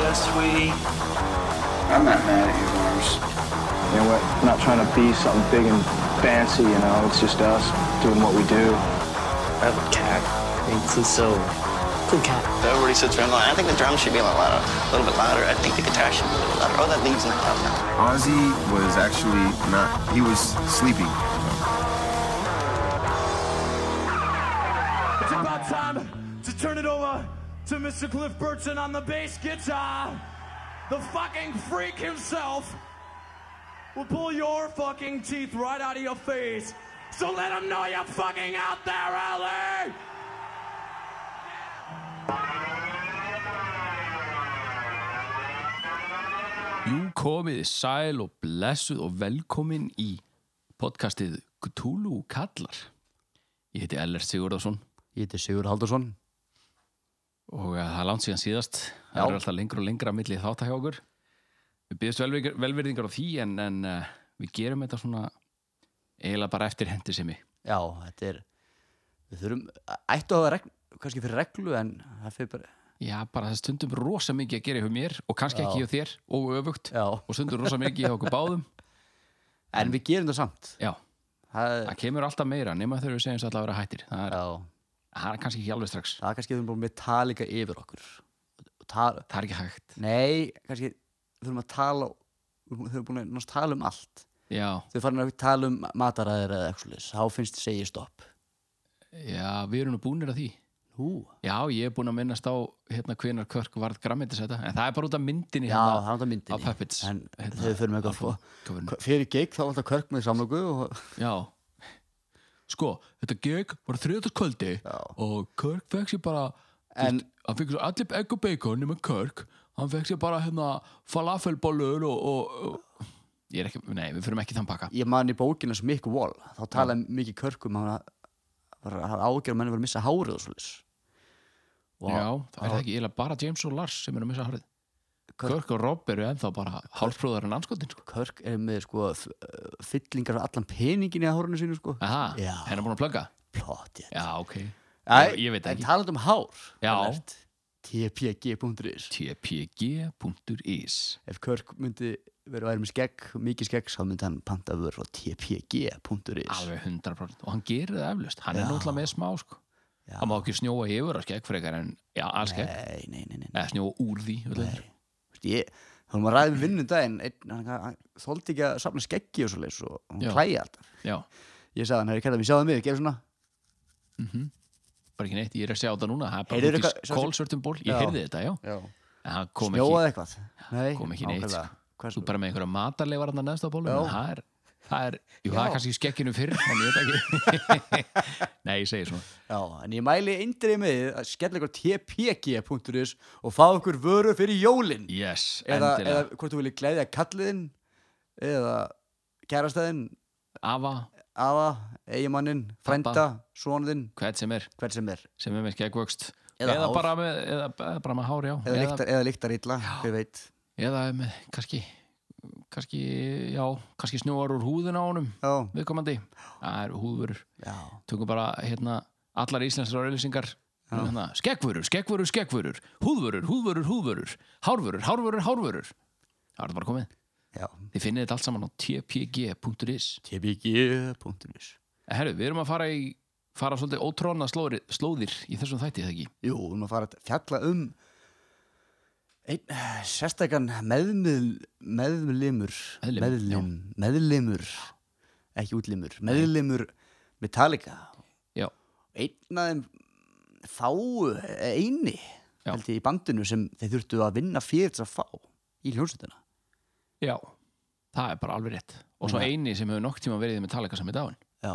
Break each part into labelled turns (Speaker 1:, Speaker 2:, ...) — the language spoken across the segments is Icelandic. Speaker 1: Yeah, sweetie.
Speaker 2: I'm not mad at you, Mars.
Speaker 3: You know, we're not trying to be something big and fancy, you know, it's just us doing what we do.
Speaker 4: I have a cat. It's just so cool cat.
Speaker 5: Everybody sits around going, I think the drums should be a little louder, a little bit louder. I think the guitar should be a little louder. Oh, that lead's not loud enough.
Speaker 6: Ozzy was actually not, he was sleeping.
Speaker 7: It's about time to turn it over to Mr. Cliff Burton on the bass guitar. The fucking freak himself will pull your fucking teeth right out of your face. So let him know you're fucking out there, Ellie!
Speaker 8: Jú, komið sæl og blessuð og velkomin í podcastið Cthulhu Kallar. Ég heiti Ellert Sigurðarsson
Speaker 4: Ég heiti Sigur Haldursson.
Speaker 8: og eh, það er langt síðan síðast. Það er alltaf lengra og lengra að milli þátt hjá okkur. Við byrðumst velvirðingar, velvirðingar á því en, en uh, við gerum þetta svona eiginlega bara eftir hendisemi.
Speaker 4: Já, þetta er, við þurfum, ættu að hafa regl, kannski fyrir reglu en það fyrir bara,
Speaker 8: Já, bara það er stundum rosa mikið að gera hjá mér og kannski
Speaker 4: Já.
Speaker 8: ekki hjá þér og öfugt
Speaker 4: Já.
Speaker 8: og stundum rosa mikið hjá okkur báðum.
Speaker 4: en við gerum það samt.
Speaker 8: Já,
Speaker 4: Það,
Speaker 8: það kemur alltaf meira nema þegar við segjum alltaf að vera hættir. Það er,
Speaker 4: já,
Speaker 8: það er kannski ekki alveg strax.
Speaker 4: það er kannski þurfum bara með talika yfir okkur. Tal,
Speaker 8: Það er ekki hægt.
Speaker 4: nei, kannski þurfum að tala, þurfum búin að náttúrulega tala um allt.
Speaker 8: Já.
Speaker 4: Þau farin að tala um mataræðir eða eitthvað slags, þá finnst þið segið stopp.
Speaker 8: Já, við erum nú búinir að því.
Speaker 4: Hú,
Speaker 8: Já, ég er búin að minnast á hérna hvenar Körk varð grammetisæta, en það er bara út af myndinni
Speaker 4: já, það er
Speaker 8: hérna.
Speaker 4: alltaf myndinni.
Speaker 8: á Puppets.
Speaker 4: En
Speaker 8: Hérna,
Speaker 4: þau fyrir með eitthvað, sko.
Speaker 8: coverinu.
Speaker 4: fó- fyrir gig þá var alltaf körk með samlöku og
Speaker 8: Já. Sko, þetta gig var þriðutaskvöldi
Speaker 4: Já.
Speaker 8: og Körk fekk sér bara,
Speaker 4: En-
Speaker 8: en, veist, hann fekk sér allir egg og bacon nema Körk, hann fekk sér bara hérna falafelbollur og, og, og ég er ekki, nei, við fyrir ekki þann pakka.
Speaker 4: ég man í bókinu sem Mick Wall þá talaði mikið körkum hann var að ágjör að menni var að missa hárið og svolítið
Speaker 8: Já, það er það ekki, ég er bara James og Lars sem er að missa hárið.
Speaker 4: Körk-
Speaker 8: Körk og Rob eru ennþá bara hálfbróðar en anskotin, sko.
Speaker 4: Körk er með sko f- uh, fyllingar af allan peningin í hárinu sínu sko
Speaker 8: Aha,
Speaker 4: Já.
Speaker 8: hennar búin að plugga?
Speaker 4: plott ég
Speaker 8: Já, ok. ég- ég veit ekki.
Speaker 4: en talað um hár
Speaker 8: Já.
Speaker 4: Ellert, tpg.is
Speaker 8: tpg.is
Speaker 4: ef Körk myndi verið að vera með skegg mikið skegg þá myndi hann panta vörur á tpg.is
Speaker 8: alveg 100% og hann gerir það eflaust hann er náttúrulega með smá sko
Speaker 4: Já.
Speaker 8: hann má ekki snjóa yfir að skegg frekar en já, að skegg,
Speaker 4: nei, nei, nei, nei, nei.
Speaker 8: eða snjóa úr því öllu heldur.
Speaker 4: Veist, ég, þá erum að ræða við vinnum daginn einn, hann, hann þóldi ekki að safna skeggi og svoleiðis og hún
Speaker 8: Já.
Speaker 4: klæði alltaf
Speaker 8: já,
Speaker 4: ég sagði hann, hefur kæðið mig, sjáðu mig, gerðu svona
Speaker 8: bara ekki neitt, ég er að sjá þetta núna það er bara
Speaker 4: Heyrðu
Speaker 8: út
Speaker 4: eitthvað-
Speaker 8: í kólsvörtum ból, ég
Speaker 4: Já.
Speaker 8: heyrði þetta, já
Speaker 4: Já.
Speaker 8: en hann kom
Speaker 4: snjóaði
Speaker 8: ekki,
Speaker 4: eitthvað nei,
Speaker 8: kom ekki neitt
Speaker 4: nákvæmlega.
Speaker 8: sko.
Speaker 4: Hvað
Speaker 8: þú
Speaker 4: svo-
Speaker 8: bara með einhverja matarleifar hann að neðst á bólum
Speaker 4: Já.
Speaker 8: en það er, það er, jú, það
Speaker 4: Já.
Speaker 8: er kannski í skegginu fyrr en ég veit ekki nei, ég segi svona
Speaker 4: já, en ég mæli eindrið með þið að skella ykkur á tpg.is og fá ykkur vörur fyrir jólin
Speaker 8: yes,
Speaker 4: eða,
Speaker 8: endilega,
Speaker 4: eða hvort þú viljið glæðja kalliðin eða kærastæðin
Speaker 8: afa,
Speaker 4: afa, eigimannin, frænda sonðin,
Speaker 8: hvert sem er
Speaker 4: hvert sem er
Speaker 8: sem er með skeggvöxt
Speaker 4: Eða
Speaker 8: eða,
Speaker 4: hár.
Speaker 8: bara með, eða, eða bara með hár, já
Speaker 4: eða, lyktar, eða lyktar illa, hver veit
Speaker 8: eða með kannski kannski, já, kannski snjóar úr húðin á honum
Speaker 4: já,
Speaker 8: viðkomandi, það eru húðvörur
Speaker 4: já,
Speaker 8: tökum bara hérna allar íslenskar auðlýsingar hérna, skeggvörur, skeggvörur, skeggvörur húðvörur, húðvörur, húðvörur hárvörur, hárvörur, hárvörur það er þetta bara komið,
Speaker 4: já
Speaker 8: þið finnið þetta allt saman á tpg.is
Speaker 4: tpg.is
Speaker 8: En herru, við erum að fara í fara svolítið ótróna slóðir, slóðir í þessum þætti, er það ekki?
Speaker 4: Jú, við erum að fara að fjalla um einn eh, sérstakann meðmil, meðlimur
Speaker 8: Meðlim,
Speaker 4: meðlim, meðlimur ekki útlimur, meðlimur Metallica
Speaker 8: Já,
Speaker 4: einn af þeim fáu eh, eini
Speaker 8: Já.
Speaker 4: held ég í bandinu sem þeir þurftu að vinna fyrir þess að fá í hljónsveitina
Speaker 8: já Það er bara alveg rétt. Og svo eini sem hefur nokk tíma verið með talega sem í daginn.
Speaker 4: Já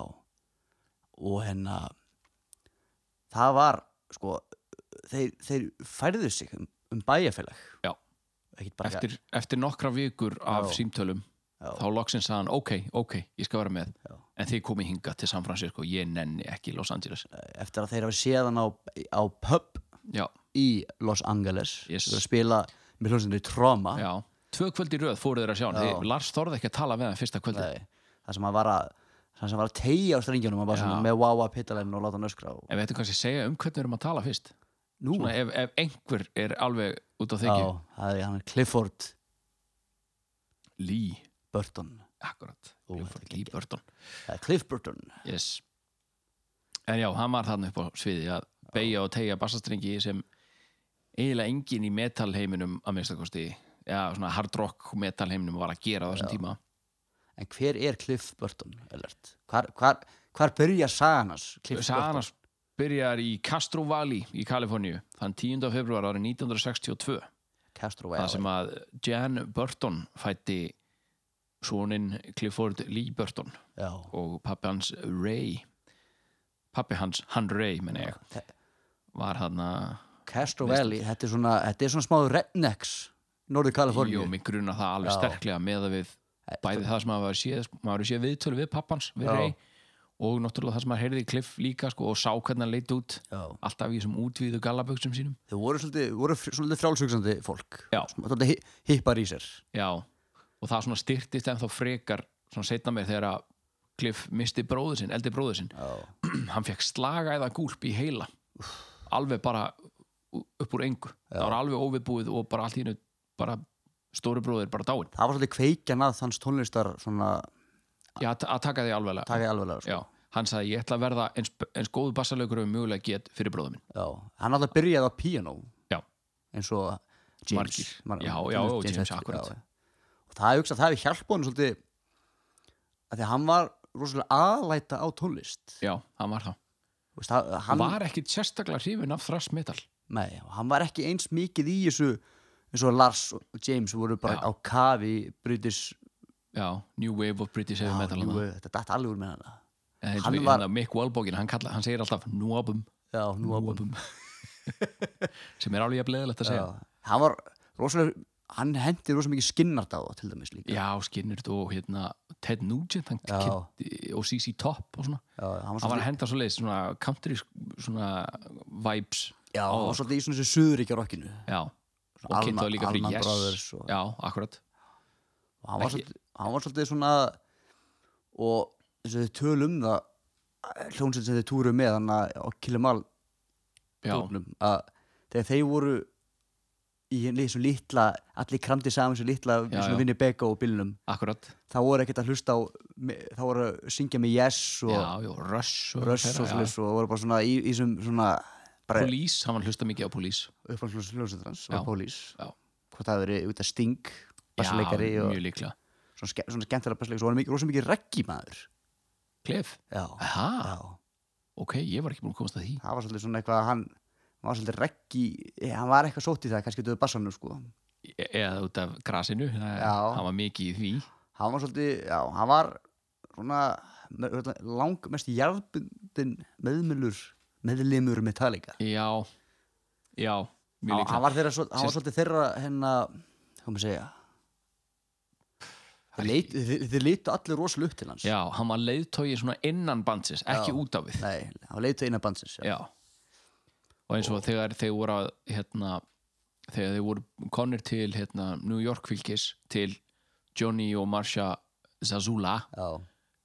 Speaker 4: og hérna það var sko þeir, þeir færðu sig um, um bæjarfélag
Speaker 8: Já.
Speaker 4: Ekkert bara-
Speaker 8: eftir, eftir nokkra vikur af
Speaker 4: Já.
Speaker 8: símtölum
Speaker 4: Já.
Speaker 8: þá loksins sagði hann, ok, ok, ég skal vera með
Speaker 4: Já.
Speaker 8: en þið komið hingað til San Francisco ég nenni ekki í Los Angeles
Speaker 4: eftir að þeir hafa séð hann á, á pub
Speaker 8: já,
Speaker 4: í Los Angeles
Speaker 8: Yes.
Speaker 4: Þeir eru að spila með hljómsveitinni Troma
Speaker 8: já, tvö kvöld í röð fóruð þeir að sjá hann,
Speaker 4: Já.
Speaker 8: þið, Lars þorði ekki að tala við hann fyrsta kvöldi
Speaker 4: Nei, það sem hann var að það sem var að tegja á strengjunum hann var svona
Speaker 8: Já.
Speaker 4: með wow wow pittalinn og láta hann öskra og,
Speaker 8: en við ættum kannski að segja um hvernig við erum að tala fyrst
Speaker 4: Nú,
Speaker 8: svona ef, ef einhver er alveg út á þykju
Speaker 4: já, það er hann Clifford
Speaker 8: Lee,
Speaker 4: Burton
Speaker 8: akkurat
Speaker 4: Ó,
Speaker 8: Clifford
Speaker 4: þetta er
Speaker 8: Lee
Speaker 4: geggjað.
Speaker 8: Burton
Speaker 4: eða Cliff Burton
Speaker 8: yes. en já, hann var þarna upp á sviði að beigja og tegja bassastrengi sem eiginlega engin í metalheiminum að minnstakosti já, svona hard rock metalheiminum var að gera á þessum tíma
Speaker 4: en hver er Cliff Burton? Ellert? Hvar, hvar, hvar byrja sagan hans? Cliff
Speaker 8: Sagan
Speaker 4: Burton?
Speaker 8: hans byrjar í Castro Valley í Kaliforníu þann 10. februar árið 1962
Speaker 4: Castro
Speaker 8: það sem
Speaker 4: Valley
Speaker 8: að Jan Burton fætti soninn Clifford Lee Burton
Speaker 4: já,
Speaker 8: og pappi hans Ray pappi hans, hann Ray menn ég,
Speaker 4: Þe-
Speaker 8: var hann að
Speaker 4: Castro Valley, þetta er svona, þetta er svona smá rednecks Norður
Speaker 8: jú,
Speaker 4: Kaliforníu
Speaker 8: mig gruna það alveg
Speaker 4: Já.
Speaker 8: sterklega með að við bæði það sem maður var séð, maður hefur séð viðtölu við pappans, við
Speaker 4: Já.
Speaker 8: Ray og náttúrulega það sem maður heyrði í Cliff líka sko, og sá hvernig hann leit út
Speaker 4: Já.
Speaker 8: alltaf í þessum útvíðu gallaböksum sínum
Speaker 4: þau voru svolítið, voru fr- svolítið frálsugsandi fólk
Speaker 8: Já.
Speaker 4: Svona svolítið hi- hippar í sér
Speaker 8: Já, og það svona styrtist en þá frekar svona setna mér þegar að Cliff misti bróður sinn, eldi bróður sinn
Speaker 4: já,
Speaker 8: hann fekk slaga eða gúlp í heila alveg bara u- upp úr engu, það var alveg óviðbúið og bara allt í hennu, bara stóri bróður bara dáinn,
Speaker 4: það var svolítið kveikjan að þanns tónlistar svona,
Speaker 8: já að að taka því alveg
Speaker 4: taka sko. ég alveg
Speaker 8: já, hann sagði ég ætla að verða eins, eins góðu bassalaukur og mjögulega get fyrir bróður minn,
Speaker 4: Já, hann alltaf byrjaði á piano
Speaker 8: Já.
Speaker 4: eins og James
Speaker 8: Margir. Já, já, og James,
Speaker 4: Hetfield,
Speaker 8: akkurat.
Speaker 4: já. og það hefur það hefur hjálpað hann svolítið að því að hann var rosalega aðlæta á tónlist
Speaker 8: já, hann var það
Speaker 4: Þú Veist, það, hann,
Speaker 8: var ekkit sérstaklega hrifin af thrash metal
Speaker 4: nei, og hann var ekki eins mikið í þessu eins og Lars og James voru bara
Speaker 8: Já.
Speaker 4: á kafi British
Speaker 8: já, New Wave of British Heavy
Speaker 4: Já,
Speaker 8: Metal
Speaker 4: jú,
Speaker 8: hann,
Speaker 4: þetta datt alveg úr með hana hann
Speaker 8: hann
Speaker 4: var-
Speaker 8: var, hérna, Mick Walbogin, hann, kalla, hann segir alltaf Núabum
Speaker 4: já, nú að búin
Speaker 8: Núabum sem er alveg að bleðilegt að segja já,
Speaker 4: hann var rosalega hann hendi rosalega mikið skinnardáða til dæmis líka
Speaker 8: skinnir og hérna Ted Nugent hann
Speaker 4: Já.
Speaker 8: kynnti- og CC Top og svona
Speaker 4: Já,
Speaker 8: hann
Speaker 4: hann var
Speaker 8: var
Speaker 4: svolítið,
Speaker 8: að henda svo leiðis svona country svona vibes
Speaker 4: já, hann var svolítið í svona þessu suðuríkja rockinu
Speaker 8: já, og
Speaker 4: Alma-
Speaker 8: kynnti það líka fyrir
Speaker 4: Alman
Speaker 8: Yes
Speaker 4: Brothers og-
Speaker 8: já, akkurat
Speaker 4: og hann var,
Speaker 8: Ekki-
Speaker 4: svolítið, hann var svolítið svona og eins og þau tölum það hljónsett sem þau túru með hann að á Kilimal
Speaker 8: já,
Speaker 4: tóknum að þegar þeir voru í henni svo litla allir kramdi saman svo
Speaker 8: Já,
Speaker 4: litla já,
Speaker 8: já.
Speaker 4: vinni Begga og bílnum
Speaker 8: akkurat
Speaker 4: þá voru ekkert að hlusta á me- þá voru að syngja með Yes og
Speaker 8: já, já, Rush og
Speaker 4: Russ
Speaker 8: þeirra,
Speaker 4: og
Speaker 8: já.
Speaker 4: svolítið og voru bara svona í, í sem svona bara
Speaker 8: Police, hann var að hlusta mikið á Police
Speaker 4: upphaldshljónsettrans
Speaker 8: Já,
Speaker 4: og Pólís
Speaker 8: já.
Speaker 4: hvort það verið út að Sting bassleikari
Speaker 8: já,
Speaker 4: og
Speaker 8: mjög líklega
Speaker 4: svona, ske- svona skemmtilega bassleikari svo var hann mikið, rosa mikið reggimaður
Speaker 8: Cliff,
Speaker 4: já
Speaker 8: aha,
Speaker 4: Já,
Speaker 8: ok, ég var ekki búin að komast að því
Speaker 4: það var svolítið svona eitthvað að hann hann var svolítið reggi, eh, hann var eitthvað sótt í það kannski döðu bassanum sko hann
Speaker 8: E- eða út af grasinu það
Speaker 4: Já.
Speaker 8: hann var mikið í því
Speaker 4: var svolítið, já, hann var svona me- örugglega langmest jarðbundin meðmjölur meðlimur Metallica
Speaker 8: já, já,
Speaker 4: Hann-
Speaker 8: mjög
Speaker 4: hann
Speaker 8: líklega
Speaker 4: var, þeirra, svol- hann var svolítið þeirra hérna, hvað maður segja þeir, leit, þeir, þeir leitu allir rosalega upp til hans
Speaker 8: já, hann var leiðtói svona innan bandsins ekki
Speaker 4: Já.
Speaker 8: út af við
Speaker 4: Nei, hann leitu eina bandsins
Speaker 8: já. og eins og þegar þeir voru að, hérna, þegar þeir voru konir til hérna, New York fylgis til Johnny og Marsha Zazula
Speaker 4: já,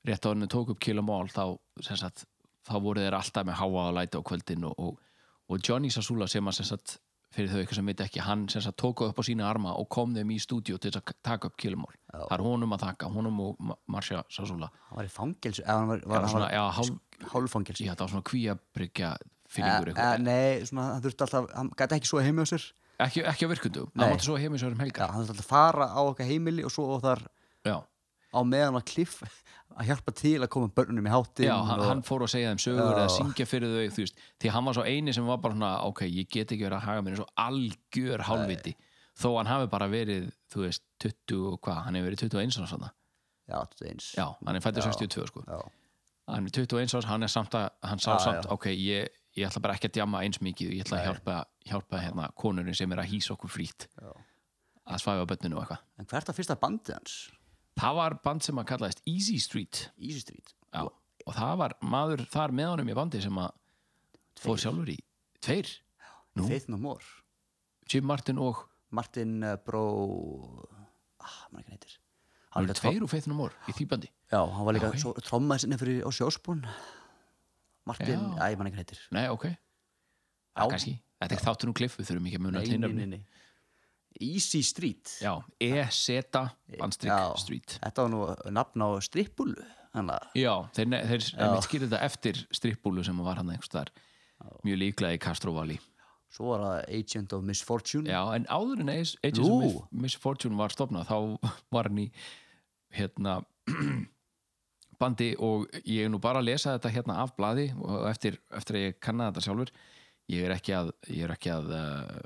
Speaker 8: rétt á henni tók upp Kill 'Em All þá, sem sagt, þá voru þeir alltaf með háa og læti á kvöldin og, og, og Johnny Sassula sem að sem sagt, fyrir þau ykkur sem veit ekki, hann sem sagt, tók upp á sína arma og kom þeim í stúdíu til þess að taka upp Kill 'Em All það er honum að þakka, honum og Ma- Marcia Sassula
Speaker 4: hann var í fangelsu eða hann var,
Speaker 8: það
Speaker 4: var,
Speaker 8: var svona, já, hálf,
Speaker 4: var hálfangelsu
Speaker 8: já, það var svona kvíabryggja fílingur
Speaker 4: Eh, eh,
Speaker 8: eitthvað,
Speaker 4: Nei, svona, hann þurfti alltaf, hann gæti ekki svo heimi á sér
Speaker 8: ekki, ekki á virkundum
Speaker 4: Nei.
Speaker 8: það mátti svo heim í svo erum
Speaker 4: Já,
Speaker 8: helgar
Speaker 4: hann þurfti alltaf að fara á okkar heimili og svo þar
Speaker 8: já,
Speaker 4: á meðan að kliff að hjálpa til að koma börnunum í hátinn
Speaker 8: já hann,
Speaker 4: og,
Speaker 8: hann fór að segja þeim sögur eða syngja fyrir þau, þú veist því hann var svo eini sem var bara svona, ok, ég get ekki verið að haga mér eins og algjör hálfviti þó hann hafi bara verið, þú veist 20 og hvað, hann hefur verið 21 ára svona,
Speaker 4: Já, þetta er eins
Speaker 8: já, hann er fættur 62 sko,
Speaker 4: já,
Speaker 8: hann er 21 ára hann er samt að, hann sá
Speaker 4: Já,
Speaker 8: samt,
Speaker 4: já.
Speaker 8: ok ég, ég ætla bara ekki að djama eins mikið ég ætla að hjálpa, hjálpa hérna konurinn sem er að hýsa okkur frítt
Speaker 4: Já.
Speaker 8: að svæfa bönninu og eitthvað
Speaker 4: En hvert að fyrsta bandið hans?
Speaker 8: það var band sem að kallaðist Easy Street
Speaker 4: Easy Street
Speaker 8: Já. og það var maður þar með honum í bandi sem að fór sjálfur í tveir, Nú.
Speaker 4: Faith No More
Speaker 8: Jim Martin og
Speaker 4: Martin uh, Bró ah, maður ekki neytir
Speaker 8: hann var tveir úr Faith No More í því bandi
Speaker 4: Já, hann var líka
Speaker 8: Já,
Speaker 4: svo, trommaði sinni fyrir á sjósbún Martin,
Speaker 8: Já.
Speaker 4: æ, maður ekki neytir
Speaker 8: nei, ok,
Speaker 4: Já,
Speaker 8: kannski
Speaker 5: Þetta er ekki þáttur um kliff, við þurfum ekki að muna
Speaker 8: Nei, nei,
Speaker 5: teinnöfni.
Speaker 8: nei, nei. Easy Street
Speaker 5: Já,
Speaker 8: E
Speaker 5: E-Seta Bandstrik Street
Speaker 8: Þetta var nú nafn á strippulu Þannig að
Speaker 5: Já, þeir, ne- þeir einmitt skýrðu þetta eftir strippbúlu sem var hann einhvers þar mjög líklega í Castro Valley
Speaker 8: svo var það Agent of Misfortune
Speaker 5: Já, en áður en Ace- Agents
Speaker 8: Nú.
Speaker 5: of Mis- Misfortune var stofnað þá var hann í hérna bandi og ég er nú bara að lesa þetta hérna af blaði og eftir, eftir að ég kanna þetta sjálfur ég er ekki að, ég er ekki að uh,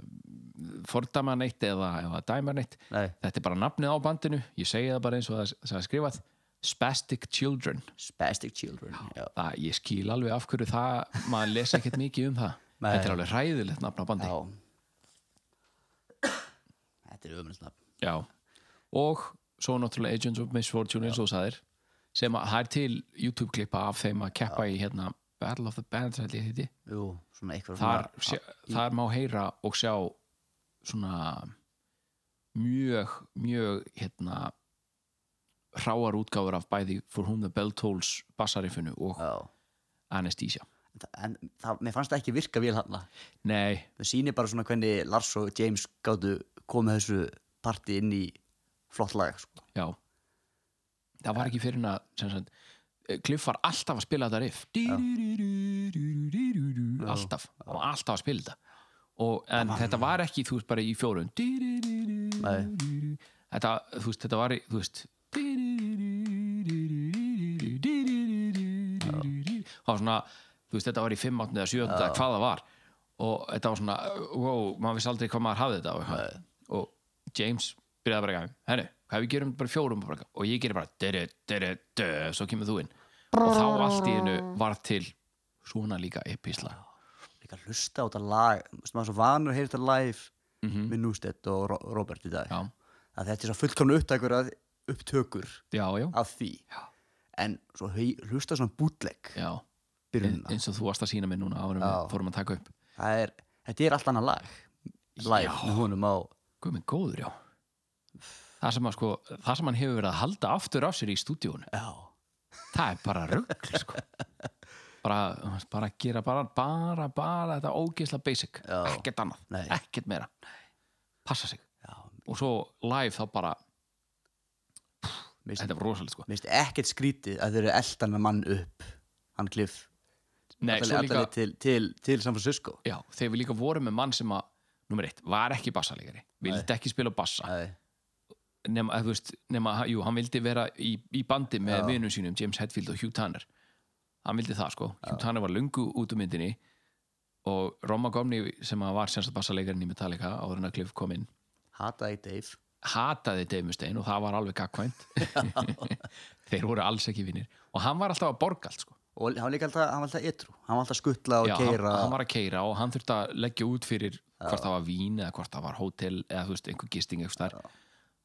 Speaker 5: fordama neitt eða, eða dæma neitt
Speaker 8: Nei.
Speaker 5: þetta er bara nafnið á bandinu ég segi það bara eins og það, það er skrifað Spastic Children
Speaker 8: Spastic Children já.
Speaker 5: það, ég skil alveg af hverju það maður lesa ekkert mikið um það
Speaker 8: Nei.
Speaker 5: þetta er alveg hræðilegt nafn á bandi
Speaker 8: Já. Þetta er ömulsnafn
Speaker 5: Já. og svo náttúrulega Agents of Misfortune eins og þú sagðir sem að það er til YouTube klippa af þeim að keppa í hérna Battle of the Bands held ég heiti
Speaker 8: Jú, svona eitthvað
Speaker 5: þar,
Speaker 8: svona-
Speaker 5: sjá, þar má heyra og sjá svona mjög, mjög hérna hráar útgáfur af bæði For Whom the Bell Tolls bassarifinu og
Speaker 8: Já.
Speaker 5: Anesthesia
Speaker 8: En það- En það, mér fannst það ekki virka vel hann
Speaker 5: Nei,
Speaker 8: Það sýnir bara svona hvernig Lars og James gátu komið þessu parti inn í flott lag sko.
Speaker 5: Já Það var ekki fyrir en að sem sagt, Cliff var alltaf að spila þetta riff Du-du-du-du-du-du-du-du. Alltaf Hann var alltaf að spila þetta og, En þetta var ekki, þú veist, bara í fjórun Du-du-du-du-du-du-du. Þetta, þú veist, þetta var í, þú veist Du-du-du-du-du-du-du-du-du-du-du. Það var svona, þú veist, þetta var í fimm átni eða sjötni eða hvað það var og þetta var svona, wow, maður vissi aldrei hvað maður hafði þetta og, eitthvað. og James byrjaði bara að henni, hvað við gerum bara fjórum bara, og ég gerir bara dere, dere, dö, svo kemur þú inn og þá allt í einu var til svona líka episla
Speaker 8: Líka að hlusta á þetta lag þú veist, Maður er svo vanur að heyra þetta live með Nústedt og Ro- Robert í dag
Speaker 5: Mhm. Já.
Speaker 8: að þetta er svo fullkomna upptökur að, upptökur
Speaker 5: já, já,
Speaker 8: af því já. en svo hei, hlusta svona bútleg
Speaker 5: já
Speaker 8: byrjunna
Speaker 5: eins og þú varst að sína mér núna áður en
Speaker 8: Já.
Speaker 5: við fórum að taka upp
Speaker 8: það er, þetta er allt annað lag live
Speaker 5: Já.
Speaker 8: með honum á
Speaker 5: guð minn góður, já það sem, að, sko, það sem hann hefur verið að halda aftur af sér í stúdíun
Speaker 8: já,
Speaker 5: það er bara rugl sko. bara, bara að gera bara, bara, bara þetta ógeðsla basic
Speaker 8: Já.
Speaker 5: ekkert annað,
Speaker 8: Nei.
Speaker 5: ekkert meira passa sig
Speaker 8: já
Speaker 5: og svo live þá bara
Speaker 8: Mér
Speaker 5: þetta var rosalega sko
Speaker 8: finnst ekkert skrítið að þeir eru eldan með mann upp hann Cliff
Speaker 5: Nei,
Speaker 8: alla,
Speaker 5: svo
Speaker 8: alla
Speaker 5: líka,
Speaker 8: leið til, til, til San Francisco
Speaker 5: já, þegar við líka vorum með mann sem að nummer eitt, var ekki bassalegari vildi ekki spila bassa
Speaker 8: Nei.
Speaker 5: nema, að þú veist, nema, ha- jú, hann vildi vera í, í bandi með vinum sínum James Hetfield og Hugh Tanner hann vildi það sko, Hugh Tanner var lungu út um myndinni og Roma Gomni sem að var semst bassalegarinn í Metallica áður en að Cliff kom inn
Speaker 8: hataði Dave
Speaker 5: hataði Dave Mustaine og það var alveg gagkvæmt þeir voru alls ekki vinnir og hann var alltaf að borga allt sko
Speaker 8: og hann var líka alltaf, hann var alltaf ytrú hann var alltaf að skutla og
Speaker 5: Já,
Speaker 8: keira
Speaker 5: hann, hann var að keira og hann þurfti að leggja út fyrir hvort það var vín eða hvort það var hótel eða þú veist, einhver gisting eitthvað þar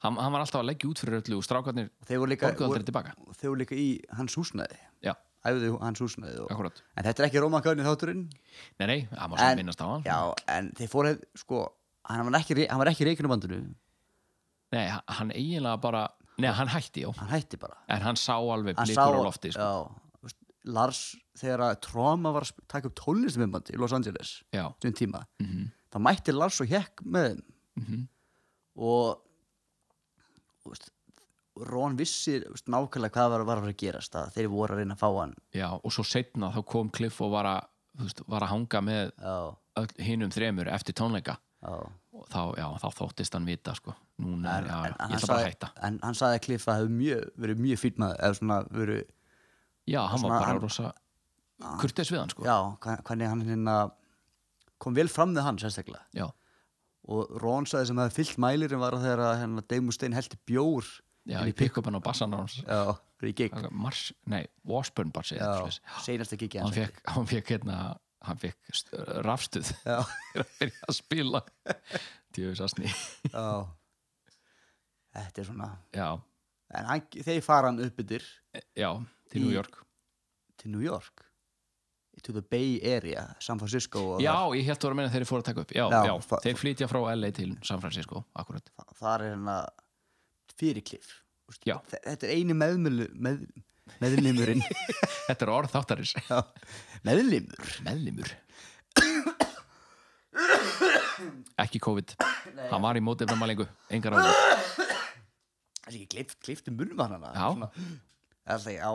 Speaker 5: hann, hann var alltaf að leggja út fyrir öllu og strákarnir
Speaker 8: þeir voru líka,
Speaker 5: Borguðu aldrei tilbaka.
Speaker 8: og þeir voru líka í hans húsnæði
Speaker 5: já,
Speaker 8: æfðu hans húsnæði og,
Speaker 5: Akkúrat.
Speaker 8: en þetta er ekki Róma Gáni þátturinn
Speaker 5: nei, nei, hann var svo að minnast á hann
Speaker 8: já, en þeir fóru sko, hann var ekki, hann var ekki reikinu bandinu
Speaker 5: nei, hann- hann eiginlega bara nei, hann hætti, já,
Speaker 8: hann hætti bara
Speaker 5: en hann sá alveg
Speaker 8: hann
Speaker 5: blikur á lofti, sko.
Speaker 8: já, þú veist, Lars þegar að Troma var að sp- taka upp tónlistmyndbandi í Los Angeles
Speaker 5: já,
Speaker 8: þessum tíma
Speaker 5: Mhm.
Speaker 8: þá mætti Lars og Hjekk með þeim og þú veist, Ron vissi þú veist, nákvæmlega hvað var, var að fara að gerast að þeir voru að reyna að fá hann
Speaker 5: já, og svo setna þá kom Cliff og var að, þú veist, var að hanga með
Speaker 8: já,
Speaker 5: öll- hinum þremur eftir tónleika
Speaker 8: já.
Speaker 5: og þá, já, þá þóttist hann vita, sko núna, er- já,
Speaker 8: en,
Speaker 5: já,
Speaker 8: en,
Speaker 5: ég
Speaker 8: hann
Speaker 5: ætla bara að
Speaker 8: sagði,
Speaker 5: hætta
Speaker 8: en hann sagði að Cliff að hefur mjög, verið mjög fýtt maður eða svona verið,
Speaker 5: já, hann var
Speaker 8: svona-
Speaker 5: bara
Speaker 8: hann-
Speaker 5: rosa kurtis við hann, sko
Speaker 8: já, hva- hvernig hann hérna kom vel fram með hann sérstaklega
Speaker 5: já,
Speaker 8: og Ron sagði sem hefði fyllt mælirinn var þegar að hérna, Dave Mustaine heldi bjór
Speaker 5: já ég pikk upp hann á bassan hans
Speaker 8: já, fyrir í gig
Speaker 5: Mars, nei, Washburn bassi eða eitthvað
Speaker 8: já,
Speaker 5: svoleiðis.
Speaker 8: seinasta gigi
Speaker 5: hann
Speaker 8: hans
Speaker 5: fekk, hann fekk hérna hann fekk st- rafstuð þegar að byrja að spila djöfis að sný
Speaker 8: já. þetta er svona
Speaker 5: já,
Speaker 8: en hann, þeir fara hann upp yfir
Speaker 5: já, til New York
Speaker 8: til New York to the Bay Area, San Francisco og
Speaker 5: já, ég held að vera að meina þeir fóru að taka upp já,
Speaker 8: Já,
Speaker 5: já,
Speaker 8: fa-
Speaker 5: þeir flytja frá LA til San Francisco akkurat,
Speaker 8: þar, þar er hérna fyrirklif
Speaker 5: já,
Speaker 8: þetta er eini meðmjölu með, meðlimurinn
Speaker 5: þetta er orð þáttaris
Speaker 8: Já, meðlimur
Speaker 5: meðlimur ekki COVID hann var í móti framælingu, engar áður
Speaker 8: Þessi ekki klift, klifti munum hann hana
Speaker 5: Já.
Speaker 8: Alltaf, já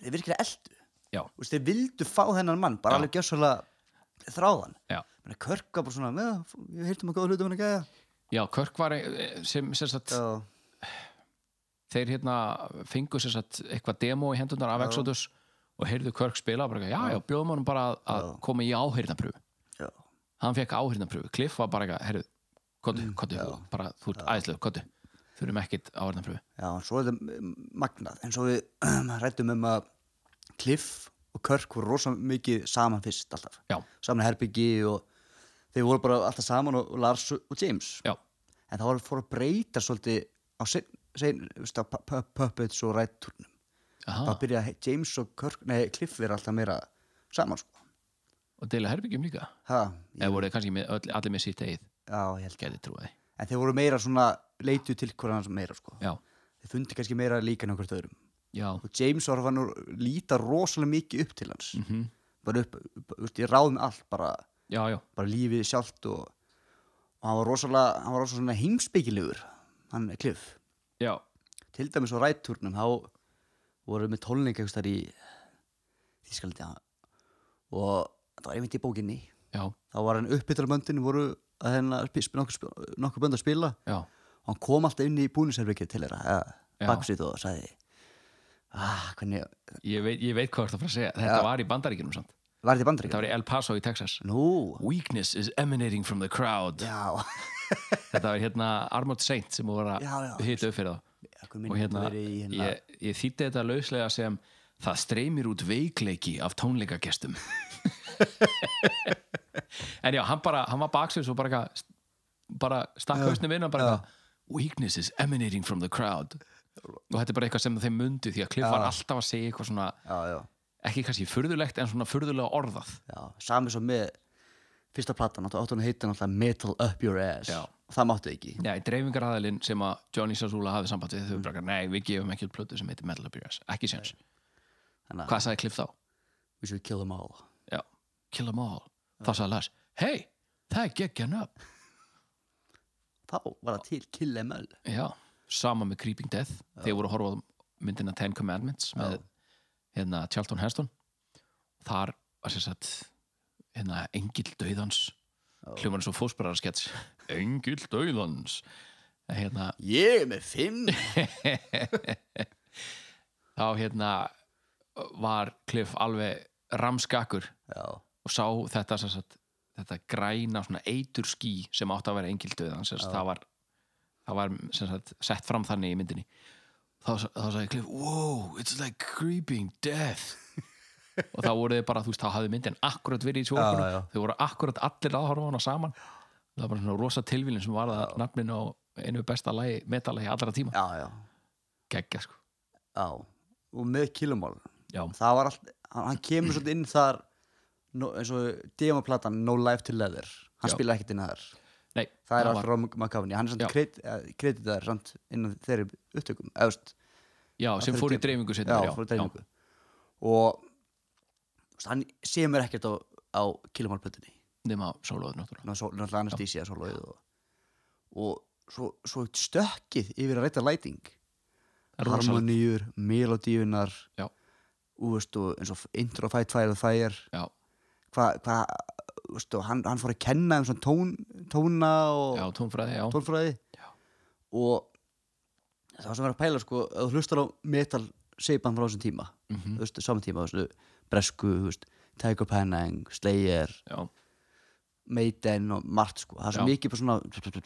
Speaker 8: Þeir virkilega eldu
Speaker 5: Já.
Speaker 8: Þú veist, Þeir vildu fá þennan mann Bara
Speaker 5: Já.
Speaker 8: alveg gjössalega þráðan
Speaker 5: Já.
Speaker 8: Menni, Körka bara svona "Já, f- Við heyrtum að góða hlutum hann að gæja
Speaker 5: já, Körk var eh, sem, sem sagt,
Speaker 8: Já,
Speaker 5: þeir hérna fengu sem sagt eitthvað demo í hendunar af Exodus og heyrðu Körk spila bara, eitthvað, já, já, bjóðum honum bara að- að koma í áheyrnapröfu
Speaker 8: já,
Speaker 5: hann fekk áheyrnapröfu, Cliff var bara eitthvað herðu, kottu, kottu, bara þú ert æðislega, kottu, þurfum ekkit áheyrnapröfu
Speaker 8: já en Svo er þetta mm, magnað En svo við rættum um að Cliff og Körk voru rosa mikið saman fyrst alltaf
Speaker 5: já,
Speaker 8: Saman í herbyggi og Þeir voru bara alltaf saman og, og Lars og og James
Speaker 5: já,
Speaker 8: en það var fór að breyta svolítið á sein, sein, veist, á pu- pu- Puppets og rætturnum
Speaker 5: aha,
Speaker 8: þá byrja he- James og Kirk, nei, Cliff er alltaf meira saman sko
Speaker 5: og deila herbyggjum líka
Speaker 8: ha,
Speaker 5: eða voru þeir kannski með, öll, allir með sitt eigið
Speaker 8: já, ég held
Speaker 5: gæti trúið,
Speaker 8: en þeir voru meira svona, leitu til hverjan sem meira sko
Speaker 5: já,
Speaker 8: þeir fundi kannski meira líka nokkur öðrum
Speaker 5: já
Speaker 8: og James var hann að líta rosalega mikið upp til hans mm -hmm. bara upp, upp veist, ég ráðum allt bara,
Speaker 5: já, já,
Speaker 8: bara lífið sjálft og, og hann var rosalega hann var rosalega svona heimspeikilegur hann Cliff
Speaker 5: já,
Speaker 8: til dæmis á rætturnum þá voru með tólning eitthvað í Þískalandi ha. og það var einmitt í bókinni
Speaker 5: já,
Speaker 8: þá var hann uppbyttalböndin voru að hérna spil, nokkur, sp- nokkur bönd að spila
Speaker 5: já,
Speaker 8: og hann kom alltaf inn í búnisherbyggið til þeirra eða
Speaker 5: Já.
Speaker 8: baksvið og sagði ah, hvernig,
Speaker 5: ég veit, ég veit hvað þú ert að fara að segja þetta var í bandaríkjunum samt,
Speaker 8: var þetta í
Speaker 5: þetta
Speaker 8: bandaríkjum?
Speaker 5: var í El Paso í Texas
Speaker 8: Nú,
Speaker 5: weakness is emanating from the crowd
Speaker 8: já
Speaker 5: þetta var hérna Armored Saint sem voru að
Speaker 8: Já, já.
Speaker 5: hita upp fyrir þá
Speaker 8: Akkur minn
Speaker 5: og hérna,
Speaker 8: þetta verið í hérna
Speaker 5: ég, ég þýtti þetta lauslega sem það streymir út veikleiki af tónleikagestum en já, hann bara hann var baksins og bara eitthvað- bara stakk hausnum inn og bara eitthvað, weakness is emanating from the crowd og þetta er bara eitthvað sem þeim mundu því að Cliff var alltaf að segja eitthvað svona
Speaker 8: já, já,
Speaker 5: ekki kannski furðulegt en svona furðulega orðað
Speaker 8: já, sami svo með fyrsta platan, áttu áttu hann að heita náttúrulega Metal Up Your Ass
Speaker 5: Já.
Speaker 8: og það máttu ekki
Speaker 5: Já, í dreifingaraðilinn sem að Johnny Sassula hafði samband við þau mm. brakar, nei, við gefum ekki út plötu sem heitir Metal Abuse, ekki séns
Speaker 8: Þannig að-
Speaker 5: Hvað sagði Cliff þá?
Speaker 8: We should kill them all
Speaker 5: Já, Kill 'em all Þá sagði Lars, hey, það er geggjan upp
Speaker 8: þá var það til Kill Em All
Speaker 5: Já, sama með Creeping Death þegar voru að horfa á myndina Ten Commandments með hérna Charlton Heston Þar var sér satt hérna Engil Dauðans hljóman svo fósbrararskets Engil Dauðans hérna,
Speaker 8: Ég er með fimm
Speaker 5: þá hérna var Cliff alveg ramskakkur
Speaker 8: Já,
Speaker 5: og sá þetta sem sagt, þetta græna svona eitur ský sem átti að vera engildauðan sem sagt, það var, það var sem sagt, sett fram þannig í myndinni þá, sa- þá sagði Cliff wow, it's like creeping death og þá voru þið bara, þú veist, þá hafði myndin akkurat verið í
Speaker 8: Já, já.
Speaker 5: sjókunum þau voru akkurat allir að horfa á hana saman það var bara svona rosa tilvílin sem var það nafninu á einu besta lagi, metalagi allra tíma
Speaker 8: já, já,
Speaker 5: geggja sko
Speaker 8: já. Og með Killumál
Speaker 5: Já.
Speaker 8: Það var allt, hann, hann kemur svolítið inn þar no, eins og demoplatan No Life to Leather Hann
Speaker 5: Já.
Speaker 8: spilar ekkert inn þar
Speaker 5: Nei,
Speaker 8: Það er
Speaker 5: það
Speaker 8: allt
Speaker 5: var-
Speaker 8: Ron McCavani Hann er
Speaker 5: Já.
Speaker 8: samt kredit, kreditaður samt innan þeirri upptökum Eðust,
Speaker 5: já, sem fór í dreifingu
Speaker 8: Já,
Speaker 5: seinna,
Speaker 8: fór í dreifingu Og þú veist, hann semur ekkert á, á Killumál-plötunni
Speaker 5: nema sólóður náttúrulega
Speaker 8: Ná, svo- náttúrulega anestísía svo loðið og, og svo, svo stökkið yfir að reyta læting
Speaker 5: Það er rosalegt.
Speaker 8: harmoníur, melodíunar
Speaker 5: Já.
Speaker 8: og veist og eins og intro fight fire og fire
Speaker 5: já,
Speaker 8: hvað hva, veist og hann, hann fór að kenna um svona tón, tóna og
Speaker 5: já, tónfræði, já,
Speaker 8: tónfræði já. og það var sem verið að pæla sko að þú hlustar á metal seipan frá þessum tíma mm
Speaker 5: Mhm.
Speaker 8: -hmm. veist, saman tíma, þú veist, bresku þú veist, Tiger Panning, Slayer
Speaker 5: já.
Speaker 8: Maiden og margt sko það er svo
Speaker 5: Já.
Speaker 8: mikið bara svona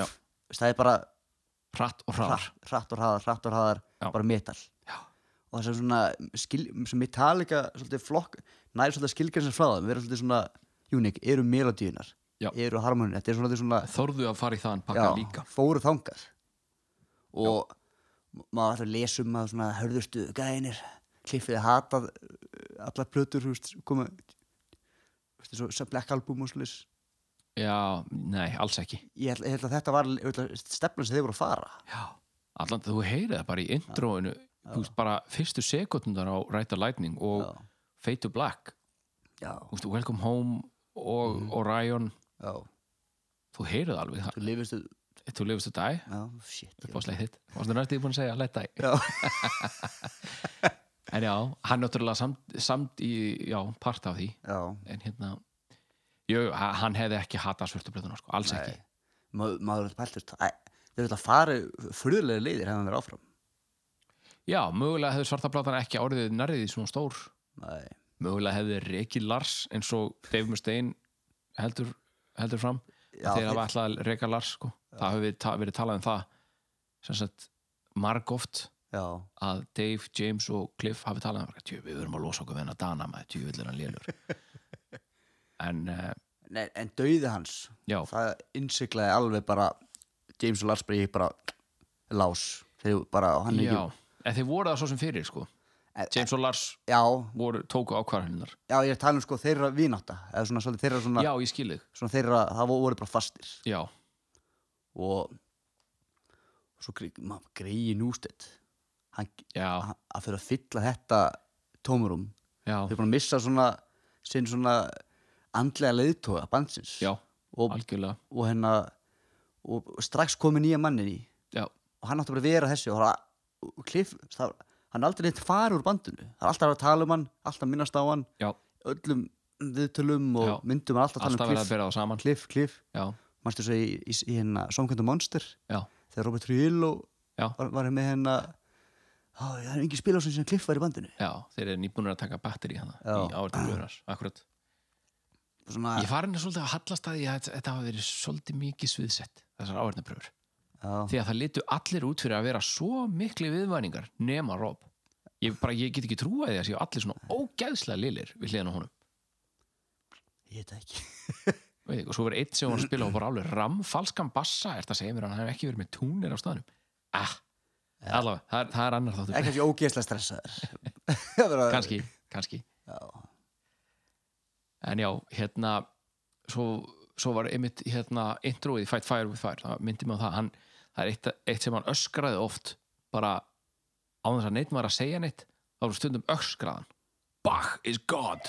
Speaker 5: Já.
Speaker 8: það er bara
Speaker 5: pratt og hrar
Speaker 8: hratt, hratt og hraðar, hratt og hraðar
Speaker 5: Já.
Speaker 8: bara metal
Speaker 5: Já.
Speaker 8: og það sem svona skil, sem Metallica svolítið flokk næri svolítið skilgjörnir frá það við erum svolítið svona unik, eru melodíunar
Speaker 5: Já.
Speaker 8: eru harmonin, þetta er svolítið svona
Speaker 5: þorðu að fara í þann pakka
Speaker 8: já,
Speaker 5: líka
Speaker 8: fóru þangað og ma- maður alltaf lesum að svona hörðustu gæðinir kliffið hatað uh, allar plötur þú veist, koma þú veist, svo, svo Black Album og slis
Speaker 5: já, nei, alls ekki
Speaker 8: ég held, ég held að þetta var ég held að stefnan sem þeir voru að fara
Speaker 5: já. allan þú heyrið það bara í introinu þú veist bara fyrstu sekundar á Ræta Lightning og
Speaker 8: Já.
Speaker 5: Fade to Black
Speaker 8: já, Mm.
Speaker 5: Þú veist, Welcome Home og Orion
Speaker 8: já,
Speaker 5: þú heyrið alveg það
Speaker 8: Þú lifist þú,
Speaker 5: þú lifist þú dag
Speaker 8: já, shit
Speaker 5: upp á sleið þitt varstu næstu búin að segja let dag
Speaker 8: Já.
Speaker 5: en já, hann náttúrulega samt, samt í, já, part af því
Speaker 8: Já,
Speaker 5: en hérna jú, ha- hann hefði ekki hatað svörtublöðuna sko, alls ekki
Speaker 8: Ma, maður er pæltist Þau vil að fara furðulega leiðir hefðan verið áfram
Speaker 5: já, mögulega hefði svartablátan ekki orðið nærðið svona stór
Speaker 8: Nei,
Speaker 5: mögulega hefði Reki Lars eins og Dave Mustaine heldur, heldur fram
Speaker 8: Já,
Speaker 5: þegar
Speaker 8: þeir-
Speaker 5: það var alltaf að reka Lars sko. það hefur ta verið talað um það sem sagt marg oft
Speaker 8: já,
Speaker 5: að Dave, James og Cliff hafi talað um það, "Djú, við verum að losa okkur við hennar Dana maður, tjú, við hann lélur en uh,
Speaker 8: Nei, en dauði hans
Speaker 5: já,
Speaker 8: það innsiklaði alveg bara James og Lars bara, bara lás þegar bara og hann er
Speaker 5: já
Speaker 8: ekki
Speaker 5: en þeir voru það svo sem fyrir sko
Speaker 8: En-
Speaker 5: James og Lars
Speaker 8: já,
Speaker 5: voru, tóku ákvarðaninnar
Speaker 8: já, ég er að tala um sko þeirra vinátta eða svona svolítið þeirra svona,
Speaker 5: já, ég skil þig,
Speaker 8: svona þeirra, það vo- voru bara fastir
Speaker 5: já,
Speaker 8: og og svo grei- ma- greiði nústedt hann
Speaker 5: já,
Speaker 8: að að fyrir að fylla þetta tómurum
Speaker 5: já,
Speaker 8: þau er búin að missa svona sinn svona andlega leiðtóga bandsins
Speaker 5: já
Speaker 8: og,
Speaker 5: algjörlega,
Speaker 8: og hérna og og strax komið nýja mannin í
Speaker 5: já,
Speaker 8: og hann átti bara að vera þessi og, það- og Cliff, það, hann er aldrei neitt fara úr bandinu það er alltaf að tala um hann, alltaf minnast á hann
Speaker 5: já
Speaker 8: öllum viðtölum og
Speaker 5: Já.
Speaker 8: myndum er alltaf að
Speaker 5: alltaf
Speaker 8: tala
Speaker 5: verið
Speaker 8: um
Speaker 5: að
Speaker 8: Cliff
Speaker 5: bera það saman
Speaker 8: Cliff, Cliff,
Speaker 5: já,
Speaker 8: mannstu svo í, í, í hérna Songkvöndu Monster,
Speaker 5: já,
Speaker 8: þegar Robert Trujillo
Speaker 5: Já.
Speaker 8: var, var með hérna ó, það er engin spilásun sem Cliff var í bandinu
Speaker 5: já, þeir eru nýbúnir að taka batteri hana
Speaker 8: Já. Ah.
Speaker 5: í áriðinlöðunar, akkurat
Speaker 8: svona,
Speaker 5: ég farin að svolítið að hallast að því að þetta- þetta hafa verið svolítið mikið sviðsett þessar áriðinarpröfur,
Speaker 8: já,
Speaker 5: því að það litu allir út fyrir að vera svo mikli viðvæningar nema Rob, ég bara, ég get ekki trúa því að séu allir svona ógæðslega lilir við hliðan á honum,
Speaker 8: ég veit það ekki
Speaker 5: veit ekki, og svo verið eitt sem var að spila og bara alveg ram, falskan bassa, er þetta að segja mér að hann hef ekki verið með túnir á staðnum ah, allavega, það er, það er annar
Speaker 8: það er
Speaker 5: þáttur,
Speaker 8: kannski ógeðslega stressaður
Speaker 5: kannski, kannski
Speaker 8: já,
Speaker 5: En já, hérna svo, svo var einmitt hérna introið í Fight Fire with Fire, það myndi mig á það hann, það er eitt, eitt sem hann öskraði oft bara á þess að neitt var að segja neitt, þá var stundum öskraðan Bach is God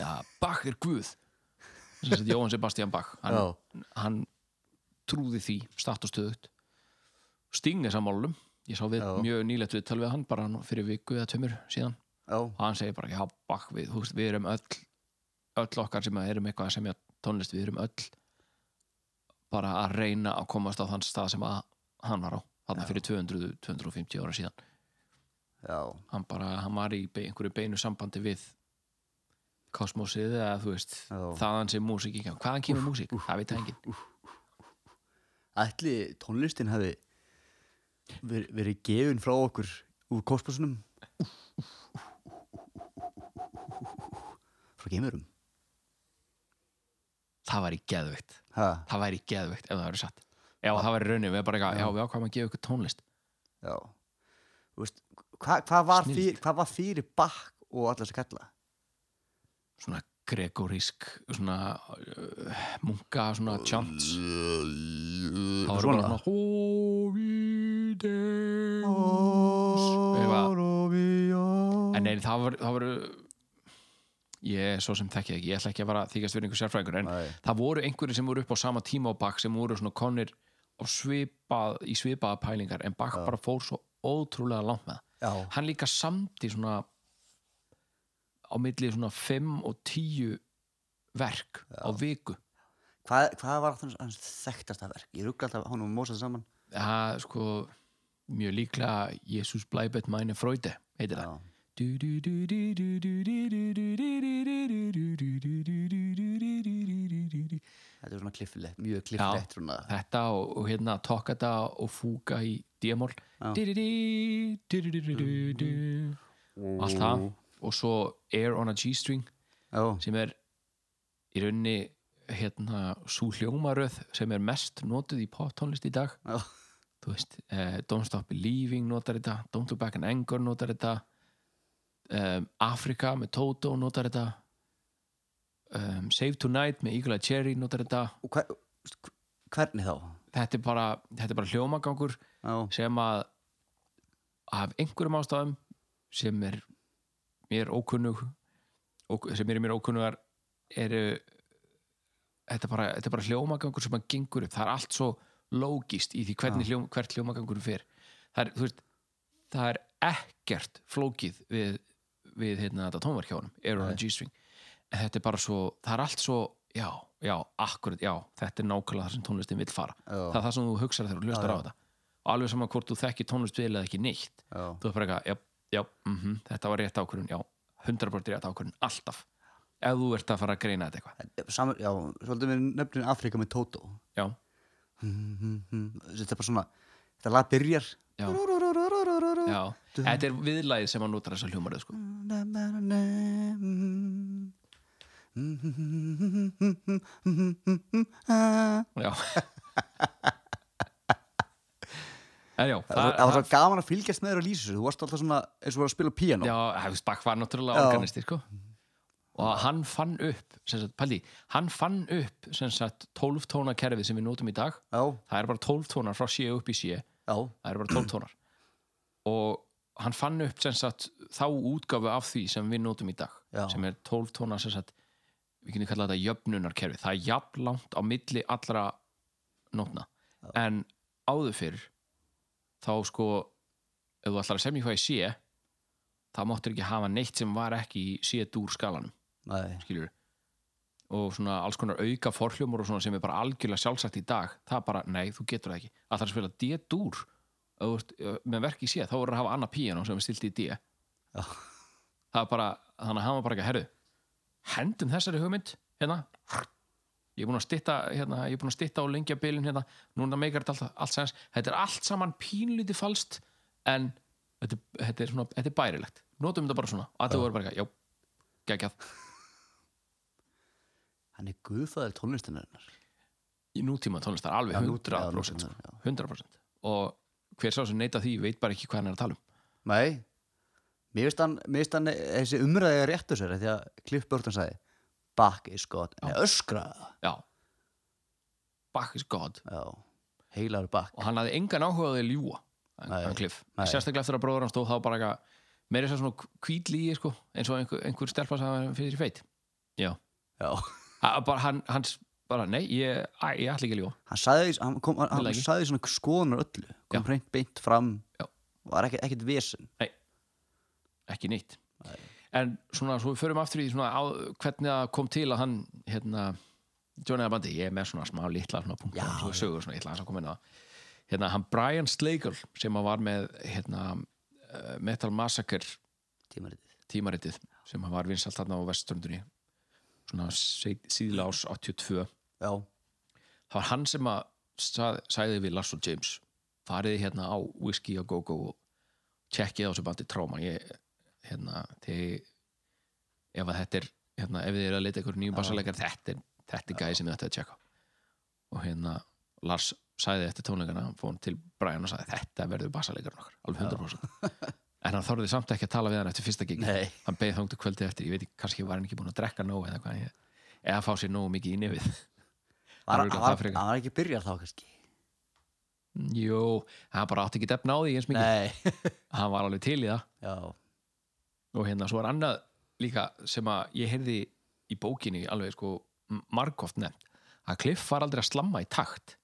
Speaker 5: ja, Bach er Guð sem sagt Jóhann Sebastian Bach hann,
Speaker 8: já,
Speaker 5: hann trúði því, statt og stöðut Sting er sammálum ég sá við
Speaker 8: Já.
Speaker 5: mjög nýlegt viðtal við hann bara nú fyrir viku eða tömur síðan
Speaker 8: já,
Speaker 5: og hann segir bara já, bakk við, þú veist, við erum öll öll okkar sem erum eitthvað að semja tónlist við erum öll bara að reyna að komast á þann stað sem að hann var á, þarna fyrir 200 250 ára síðan
Speaker 8: já,
Speaker 5: hann bara, hann var í be, einhverju beinu sambandi við kosmosið eða þú veist,
Speaker 8: Já.
Speaker 5: þaðan sem músík ekki, hvaðan kemur músík, það veit það enginn
Speaker 8: ætli tónlistin hafi ver, verið gefin frá okkur úr kosmosunum frá geimurum
Speaker 5: það væri geðveikt,
Speaker 8: ha,
Speaker 5: það væri geðveikt ef það væri satt, já það væri raunin við erum bara eitthvað, já við ákvæmum að gefa ykkur tónlist
Speaker 8: já Þú veist, hva, hvað, var
Speaker 5: Snilld.
Speaker 8: fyrir, hvað var fyrir bakk og allar þess að kalla
Speaker 5: svona gregorísk svona uh, munka svona chants það var bara
Speaker 8: Svona?
Speaker 5: svona Holy Deus Eitthvað. en nei, það var, það var ég er svo sem þekki það ekki ég ætla ekki að vera að þykjast verið einhver sérfræðingur en
Speaker 8: Nei.
Speaker 5: það voru einhverjir sem voru upp á sama tíma á Bach sem voru svona konir á svipað, í svipaða pælingar en Bach bara fór svo ótrúlega langt með það
Speaker 8: já,
Speaker 5: hann líka samt í svona á milli svona 5 og 10 verk á viku
Speaker 8: hvað, hvað var hans, hans þekktasta verk ég ruggla alltaf honum og mósa það saman
Speaker 5: það er sko mjög líklega Jesus bleibet meine Freude heitir
Speaker 8: já,
Speaker 5: það
Speaker 8: Þetta er svona kliffilegt, mjög
Speaker 5: Já,
Speaker 8: kliffilegt svona
Speaker 5: þetta og, og hérna Tokkata og Fúka í D-mól Allt það og svo Air on a G-string
Speaker 8: Já,
Speaker 5: sem er í raunni hérna sú hljómaröð sem er mest notuð í poptónlist í dag
Speaker 8: já,
Speaker 5: þú veist, uh, Don't Stop Believing notar þetta, Don't Look Back in Anger notar þetta um, Africa með Toto notar þetta um, Save Tonight með Eagle Eye Cherry notar þetta
Speaker 8: og hver, hver- hvernig þá?
Speaker 5: þetta er bara, þetta er bara hljómagangur
Speaker 8: Já,
Speaker 5: sem að af einhverjum ástæðum sem er mér ókunnug ók, sem eru mér ókunnugar eru þetta er bara, þetta er bara hljómagangur sem að gengur upp það er allt svo lógist í því hvernig hljóm, hvert hljómagangur fer það er, þú veist, það er ekkert flókið við, við hérna, þetta tónverk hjá honum Air on a G-string En þetta er bara svo, það er allt svo já, já, akkurat, já, þetta er nákvæmlega það sem tónlistin vill fara
Speaker 8: Já.
Speaker 5: það er það sem þú hugsar þegar þú hlustar á þetta og alveg saman hvort þú þekki tónlist vil eða ekki neitt
Speaker 8: Já.
Speaker 5: þú er bara eitthvað, já, já, mm þetta var rétt ákvörðun, já, 100% rétt ákvörðun alltaf, ef þú ert að fara að greina þetta eitthvað,
Speaker 8: sam, já svolítið mér nefnir Afrika með Toto
Speaker 5: já,
Speaker 8: Mm, Þetta er bara svona, þetta lag byrjar
Speaker 5: já, já þetta er viðlagið sem að notar þessa hljómarið sko. já en já,
Speaker 8: Það það var svo gaman að fylgjast með þér og lýsa þessu Þú varst alltach svona eins og var að spila á píanó
Speaker 5: Já, Hefst Bach var náttúrulega
Speaker 8: Já. Mm.
Speaker 5: organisti sko. og hann fann upp sem sagt, Paldi, hann fann upp sem sagt, 12 tóna kerfið sem við notum í dag
Speaker 8: já,
Speaker 5: það er bara 12 tónar frá 7 upp í 7
Speaker 8: já,
Speaker 5: það er bara 12 tónar og hann fann upp sem sagt, þá útgáfu af því sem við notum í dag
Speaker 8: Já.
Speaker 5: sem er 12 tónar sem sagt, við kynum kalla þetta jöfnunarkerfi það er jafn langt á milli allra nótna en áður fyrr þá sko ef þú ætlar að semja hvað ég sé þá máttur ekki hafa neitt sem var ekki í sé dúr skalanum
Speaker 8: nei,
Speaker 5: skilur og svona alls konar auka forhljómur og svona sem er bara algjörlega sjálfsagt í dag það er bara, nei, þú getur það ekki að það er að spila D-dúr Ef þú ert, eh, með verk í sé, þá voru að hafa annað píano sem er stilt í D
Speaker 8: Já.
Speaker 5: það er bara, þannig að hann var bara ekki að herðu hendum þessari hugmynd hérna ég er búin að stitta, hérna, ég er búin að stitta og lengja bilin hérna, núna meikar þetta allt, allt sens þetta er allt saman pínlítið falskt en þetta, er- þetta er svona þetta er bærilegt, notum þetta bara svona að það voru bara ekki, já, geggjað
Speaker 8: hann er guðfæður tónlistunarinnar
Speaker 5: í nútíma tónlist það er alveg
Speaker 8: Já, nútíma-
Speaker 5: 100%
Speaker 8: já,
Speaker 5: sko.
Speaker 8: nútíma, já.
Speaker 5: 100% og hver sá sem neita því veit bara ekki hvað hann er að tala um
Speaker 8: Nei, mér finnst hann, mér finnst hann þessi umræðið réttu sér af því að Cliff Burton sagði Bach is God, nei, öskra
Speaker 5: já Bach is God
Speaker 8: Já, heilaru Bach
Speaker 5: og hann hafði engan áhugað að ljúa hann,
Speaker 8: Nei,
Speaker 5: hann Cliff,
Speaker 8: nei.
Speaker 5: sérstaklega eftir að bróður hann stóð þá bara eitthvað, meira þess að segja svona kvítlíi sko, eins og einhver, einhver stelpa sem hann fyrir í feit já,
Speaker 8: Já,
Speaker 5: Ha- bara hann, hans bara, nei, ég, æ, ég ætla ekki að ljúa
Speaker 8: hann sagði, hann kom, hann,
Speaker 5: Vil
Speaker 8: hann
Speaker 5: ekki.
Speaker 8: sagði svona skoðunar öllu
Speaker 5: Já.
Speaker 8: kom hreint beint fram
Speaker 5: Já.
Speaker 8: var ekkert, ekkert vesen
Speaker 5: ekki neitt en svona, svo við förum aftur í svona á, hvernig það kom til að hann hérna, Johnny Abandi, ég er með svona smá litla svona punktum, svona sögur svona, ég ætla aðeins að koma inn á það. hérna, hann Brian Slagle sem að var með hérna, eh, Metal Massacre
Speaker 8: tímaritið
Speaker 5: tímaritið sem að var vinsalt þarna á vesturundunni svona seit- síðla ás 82
Speaker 8: Já,
Speaker 5: það var hann sem að sað, sagði við Lars og James farið hérna á Whiskey og Go-Go og tjekkið á þessu bandi tráma ég, hérna, þið ef að þetta er, hérna, ef þið eru að leita ykkur nýjum bassalegar, þetta er, þetta er gæði sem þið ætti að tjekka á. og hérna Lars sagði eftir tónleikana hann fór til Brian og sagði, þetta verður bassalegar okkar, alveg 100% en hann þorði samt ekki að tala við hann eftir fyrsta gig
Speaker 8: Nei.
Speaker 5: hann beið þangtu kvöldi eftir, ég veit ekki, kannski var hann ekki búin að drekka nóg eða hvað, ég- eða fá sér nógu mikið í nefið Það
Speaker 8: var,
Speaker 5: er
Speaker 8: hann,
Speaker 5: örugglega það
Speaker 8: var,
Speaker 5: frekar.
Speaker 8: hann var ekki byrjar þá kannski
Speaker 5: Jú, hann bara átti ekki defna á því eins mikið
Speaker 8: Nei,
Speaker 5: Hann var alveg til í það
Speaker 8: já,
Speaker 5: Og hérna, svo er annað líka sem að ég heyrði í bókinni alveg sko margóft nefnt að Cliff var aldrei að slamma í takt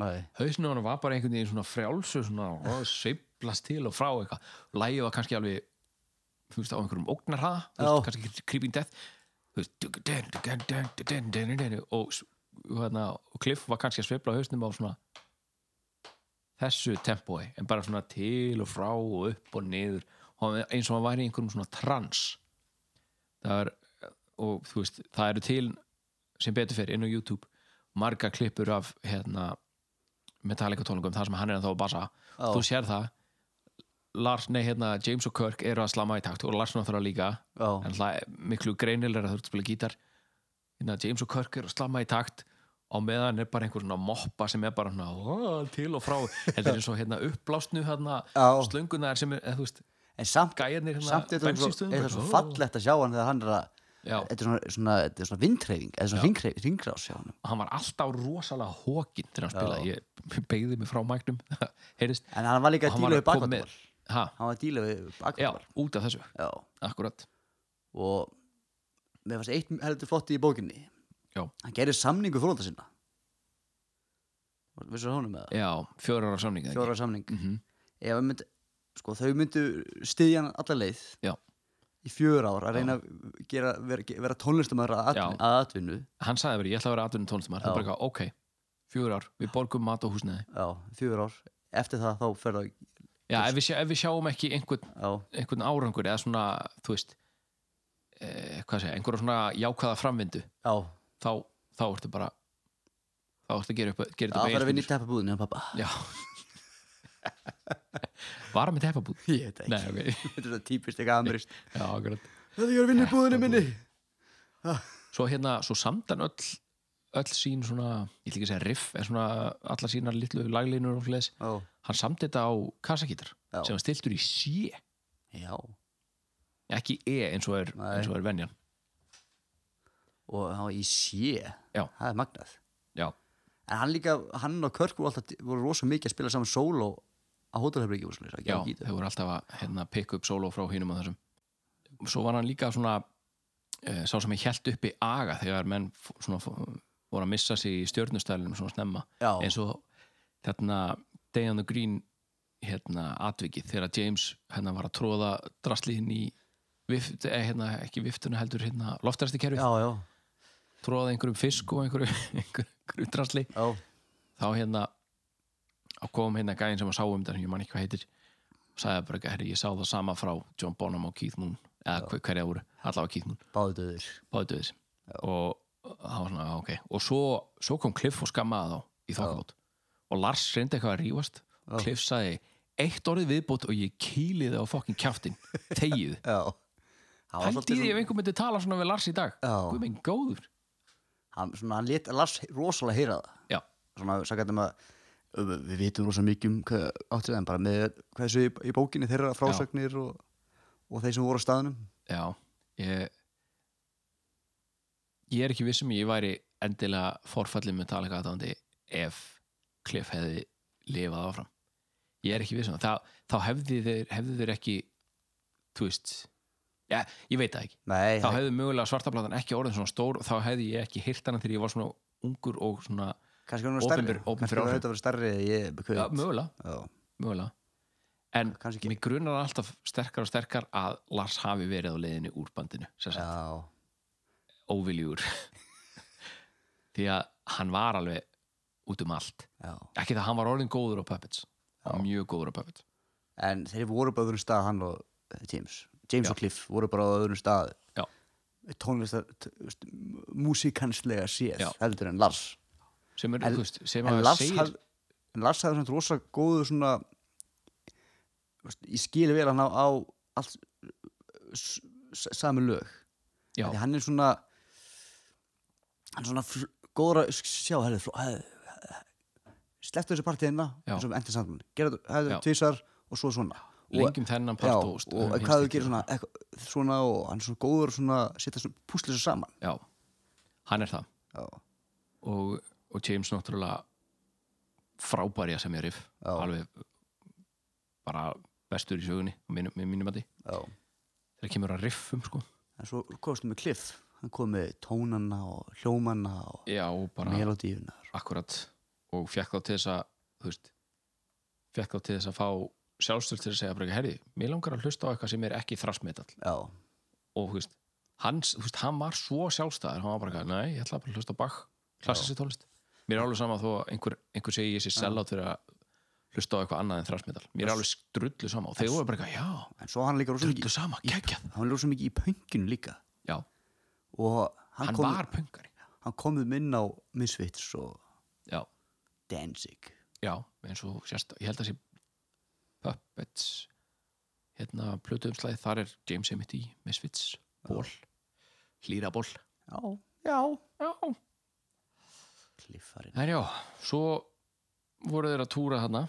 Speaker 8: nei,
Speaker 5: Hausinu hann var bara einhvern veginn svona frjálsu svona og sveiflast til og frá eitthvað Lægið var kannski alveg þú veist, á einhverjum ógnarhaða þú veist,
Speaker 8: Já.
Speaker 5: kannski creeping death þú veist, dun, dun, dun, dun, dun, dun, dun, dun, og s- hérna, og Cliff var kannski að sveifla hausnum á svona þessu tempói en bara svona til og frá og upp og niður og hann- eins og hann væri í einhverjum svona trans það er og þú veist, það eru til sem betur fyrir inn á YouTube marga klippur af hérna Metallica tólingum, þar sem hann er þá að bassa
Speaker 8: Já.
Speaker 5: þú sér það Lars, nei, hérna, James og Kirk eru að slama í takt og Lars náttúrulega líka
Speaker 8: Já.
Speaker 5: en það er miklu greinilega að þú ert að spila gítar hérna James og Kirk er að slamma í takt á meðan er bara einhver svona moppa sem er bara svona, "Ó, til og frá þetta er eins og hérna uppblásnu hérna
Speaker 8: Já.
Speaker 5: slöngunar sem er, eða, þú veist
Speaker 8: en samt,
Speaker 5: gæjarnir hérna
Speaker 8: samt er það svo,
Speaker 5: bensínstöðum,
Speaker 8: er
Speaker 5: bara,
Speaker 8: það svo
Speaker 5: "Ó."
Speaker 8: fallegt að sjá hann þegar hann er að
Speaker 5: Já.
Speaker 8: þetta er svona, svona, þetta er svona vindreyfing eða svona hringreif- hringrás hjá hann
Speaker 5: og hann var alltaf rosalega hókin þegar hann spilaði, ég beigði mig frá mæknum heyrist,
Speaker 8: en hann var líka
Speaker 5: Og
Speaker 8: að
Speaker 5: hann
Speaker 8: díla
Speaker 5: var
Speaker 8: við
Speaker 5: að koma með-
Speaker 8: bakvartmál
Speaker 5: ha,
Speaker 8: hann var að díla við
Speaker 5: já,
Speaker 8: bakvartmál
Speaker 5: út af þessu
Speaker 8: Já.
Speaker 5: akkurat,
Speaker 8: og mér fannst eitt heldur flotti í bókinni
Speaker 5: já,
Speaker 8: hann gerir samningu fórölda sinna vissur honum með það
Speaker 5: já fjórar ára samning eða ekki?
Speaker 8: fjóra samning
Speaker 5: Mhm.
Speaker 8: ef hann myndi, sko þau myndu styðja hann alla leið
Speaker 5: Já.
Speaker 8: í fjör ár að reyna að gera, vera, vera tónlistamæður að,
Speaker 5: Já.
Speaker 8: atvinnu- að atvinnu
Speaker 5: hann sagði verið, ég ætla að vera atvinnum tónlistamæður það er bara eitthvað, ok, fjórar ár, við borgum mat og húsnæði
Speaker 8: já, fjör ár, eftir það þá fer það
Speaker 5: Já, ef við, sjá, ef við sjáum ekki einhvern,
Speaker 8: já,
Speaker 5: einhvern árangur eða svona, þú veist e, hvað segja, einhverja svona jákvæða framvindu
Speaker 8: já,
Speaker 5: þá, þá ertu bara þá ertu að gera, upp, gera
Speaker 8: já það fer að
Speaker 5: þetta
Speaker 8: vinna í teppabúðinu hann pappa,
Speaker 5: Já Var hann með teppabúð?
Speaker 8: ég veit það
Speaker 5: Nei,
Speaker 8: ekki
Speaker 5: ok
Speaker 8: þetta er það típist eitthvað amrist
Speaker 5: Já, akkurat
Speaker 8: þetta er að vinna í búðinu minni
Speaker 5: Svo hérna, svo samdan öll öll sín svona, ég ætla ekki að segja riff en svona alla sínar litlu laglínur og fleðis
Speaker 8: já,
Speaker 5: hann samdi þetta á kassakítar
Speaker 8: Já.
Speaker 5: sem hann stiltur í C
Speaker 8: já
Speaker 5: ekki E eins og er,
Speaker 8: Nei.
Speaker 5: eins og er venjan
Speaker 8: og hann var í sé,
Speaker 5: Já.
Speaker 8: það er magnað
Speaker 5: Já,
Speaker 8: en hann líka, hann og Körk voru alltaf voru rosa mikið að spila saman sóló á hótelherbergi og svona,
Speaker 5: Já,
Speaker 8: ekki
Speaker 5: þau voru alltaf að hérna, pikka upp sóló frá hinum og þessum Svo var hann líka svona eh, sá sem ég held uppi aga þegar menn f- svona, f- voru að missa sig í stjörnustælinum svona snemma
Speaker 8: Já.
Speaker 5: eins og þarna Day on the Green hérna, atvikið þegar James hérna, var að tróða drastliðin í vift, eh, hérna, ekki viftuna heldur hérna, loftaræstikerfið,
Speaker 8: já, já,
Speaker 5: tróða einhverjum fisk og einhverju, einhverju, einhverju drastli
Speaker 8: já.
Speaker 5: þá hérna á kom hérna gæðin sem að sá um þetta sem ég man ekki hvað heitir og sagði bara, herri, ég sá það sama frá John Bonham og Keith Moon eða hver, hverja voru, allavega Keith Moon
Speaker 8: báðu döður
Speaker 5: báðu döðis og það var svona, "Ah, ok og svo, svo kom Cliff og skammaði þá í þokkabót og Lars reyndi eitthvað að rífast og Cliff sagði, eitt orðið viðbót og ég kýli það á fokkin kjaftin tegið,
Speaker 8: já
Speaker 5: hætti
Speaker 8: hann, var svolítið
Speaker 5: því ef
Speaker 8: svona,
Speaker 5: einhver myndi tala svona við Lars í dag,
Speaker 8: Já.
Speaker 5: guð minn góður
Speaker 8: hann, svona, hann let Lars rosalega heyra það
Speaker 5: já,
Speaker 8: svona sagði um að við við vitum rosa mikið um hvað áttið þeim bara með hversu í, í bókinni þeirra frásagnir og, og þeir sem voru á staðnum
Speaker 5: Já, ég ég er ekki viss um að ég væri endilega forfallið með tala eitthvað aðdáðandi ef Cliff hefði lifað áfram ég er ekki viss um það, þá, þá hefði þeir, hefði þeir ekki þú veist ja, ég veit það ekki,
Speaker 8: nei,
Speaker 5: þá
Speaker 8: það
Speaker 5: hefði mögulega svartablatan ekki orðið svona stór og þá hefði ég ekki hirt hana þegar ég var svona ungur og svona
Speaker 8: kannski hann var
Speaker 5: opinber- opinber
Speaker 8: stærri kannski hann
Speaker 5: áhrif.
Speaker 8: var auðvitað að vera stærri eða ég, ég,
Speaker 5: ja, mögulega,
Speaker 8: já,
Speaker 5: mögulega en
Speaker 8: Ah, Kannski ekki.
Speaker 5: mér grunar alltaf sterkar og sterkar að Lars hafi verið á leiðinni úr bandinu sem sagt.
Speaker 8: já,
Speaker 5: óviljúr því að hann var alveg út um allt
Speaker 8: já.
Speaker 5: ekki það hann var orðin góður á Puppets Hann var mjög góður á Puppets
Speaker 8: en þeir voru bara á öðrum stað hann og eh, James James
Speaker 5: Já.
Speaker 8: og Cliff voru bara á öðrum stað
Speaker 5: Já.
Speaker 8: tónlistar t- þú veist, músíkanslega séð
Speaker 5: Já.
Speaker 8: heldur en Lars
Speaker 5: sem, er,
Speaker 8: En-
Speaker 5: þú veist, sem
Speaker 8: en
Speaker 5: að
Speaker 8: Lars
Speaker 5: segir
Speaker 8: haf, en Lars hafði svona rosa góðu svona þú veist, ég skil vel að hann á, á allt s- s- sami lög
Speaker 5: já,
Speaker 8: því hann er svona hann er svona fl- góður að sk- sjá hefði, hefði, slepptu þessu hérna, partíðina
Speaker 5: Já.
Speaker 8: eins og endur saman gera þetta hefði
Speaker 5: Já.
Speaker 8: tvisar og svo svona
Speaker 5: lengjum þennan
Speaker 8: já,
Speaker 5: part
Speaker 8: og,
Speaker 5: um
Speaker 8: hvað þau gerir svona, eitthvað, svona og hann er svona góður svona setja svona púslega saman
Speaker 5: já, hann er það
Speaker 8: já,
Speaker 5: og, og James náttúrulega frábæri að semja riff
Speaker 8: Já.
Speaker 5: alveg bara bestur í sögunni með mínum að því
Speaker 8: já.
Speaker 5: þegar kemur að riffum sko
Speaker 8: en svo komstu með Cliff hann kom með tónana og hljómana og
Speaker 5: já, og bara
Speaker 8: melodíunar
Speaker 5: akkurat og fekk þá til þess að þú veist, fekk þá til þess að fá sjálfstöld til að segja bara ekki, herri, mér langar að hlusta á eitthvað sem er ekki þrassmetall
Speaker 8: já,
Speaker 5: og þú veist, hans, þú veist, hann var svo sjálfstæður, hann var bara eitthvað, nei, ég ætla bara að hlusta á Bach, klassissi tólest mér er alveg sama þó að einhver, einhver segi ég sé sellátt fyrir að hlusta á eitthvað annað en þrassmetall mér er alveg strullu sama og þeir voru bara eitthvað, já,
Speaker 8: en svo hann líka rosa
Speaker 5: Drullu
Speaker 8: mikið
Speaker 5: sama,
Speaker 8: í-
Speaker 5: geggjað.
Speaker 8: hann var rosa mikið í pönginu líka
Speaker 5: Já,
Speaker 8: og hann,
Speaker 5: hann
Speaker 8: kom,
Speaker 5: var pöngari
Speaker 8: hann kom um inn á Misfits og
Speaker 5: Já,
Speaker 8: Danzig
Speaker 5: já, eins og sérst, ég held að sé Puppets hérna plötuumslæði, þar er James Emmett í Misfits, ból hlýra ból
Speaker 8: já, já,
Speaker 5: Já,
Speaker 8: kliffarinn
Speaker 5: það er já, svo voru þeir að túra þarna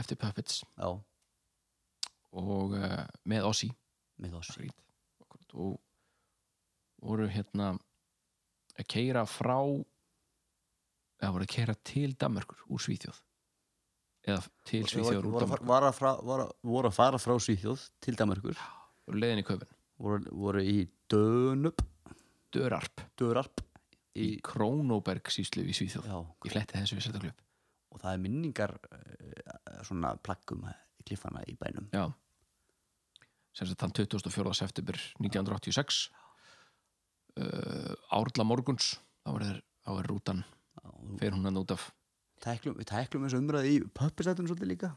Speaker 5: eftir Puppets
Speaker 8: já,
Speaker 5: og uh, með Ossi
Speaker 8: með oss
Speaker 5: Creed Akkurat, og voru hérna að keira frá eða voru að keira til Danmörkur úr Svíþjóð eða til Svíþjóður úr
Speaker 8: voru, að fara-
Speaker 5: Danmörkur
Speaker 8: var að fra, var að, voru að fara frá Svíþjóð til Danmarkur
Speaker 5: og leiðin í köfun,
Speaker 8: voru, voru í Dönup
Speaker 5: Dörarp
Speaker 8: Dörarp
Speaker 5: í
Speaker 8: í,
Speaker 5: Krónóberg síslu í Svíþjóð
Speaker 8: já,
Speaker 5: ég fletti þessu í Sættaklub
Speaker 8: og það er minningar eh, svona plakkum kliffana í bænum
Speaker 5: já sem sagt þann 24. september 1986 uh, Árla morguns þá er, þeir- þá er rútan fer hún hann út af
Speaker 8: tæklum, við tæklum þessu umræði í pöppisættunum svolítið líka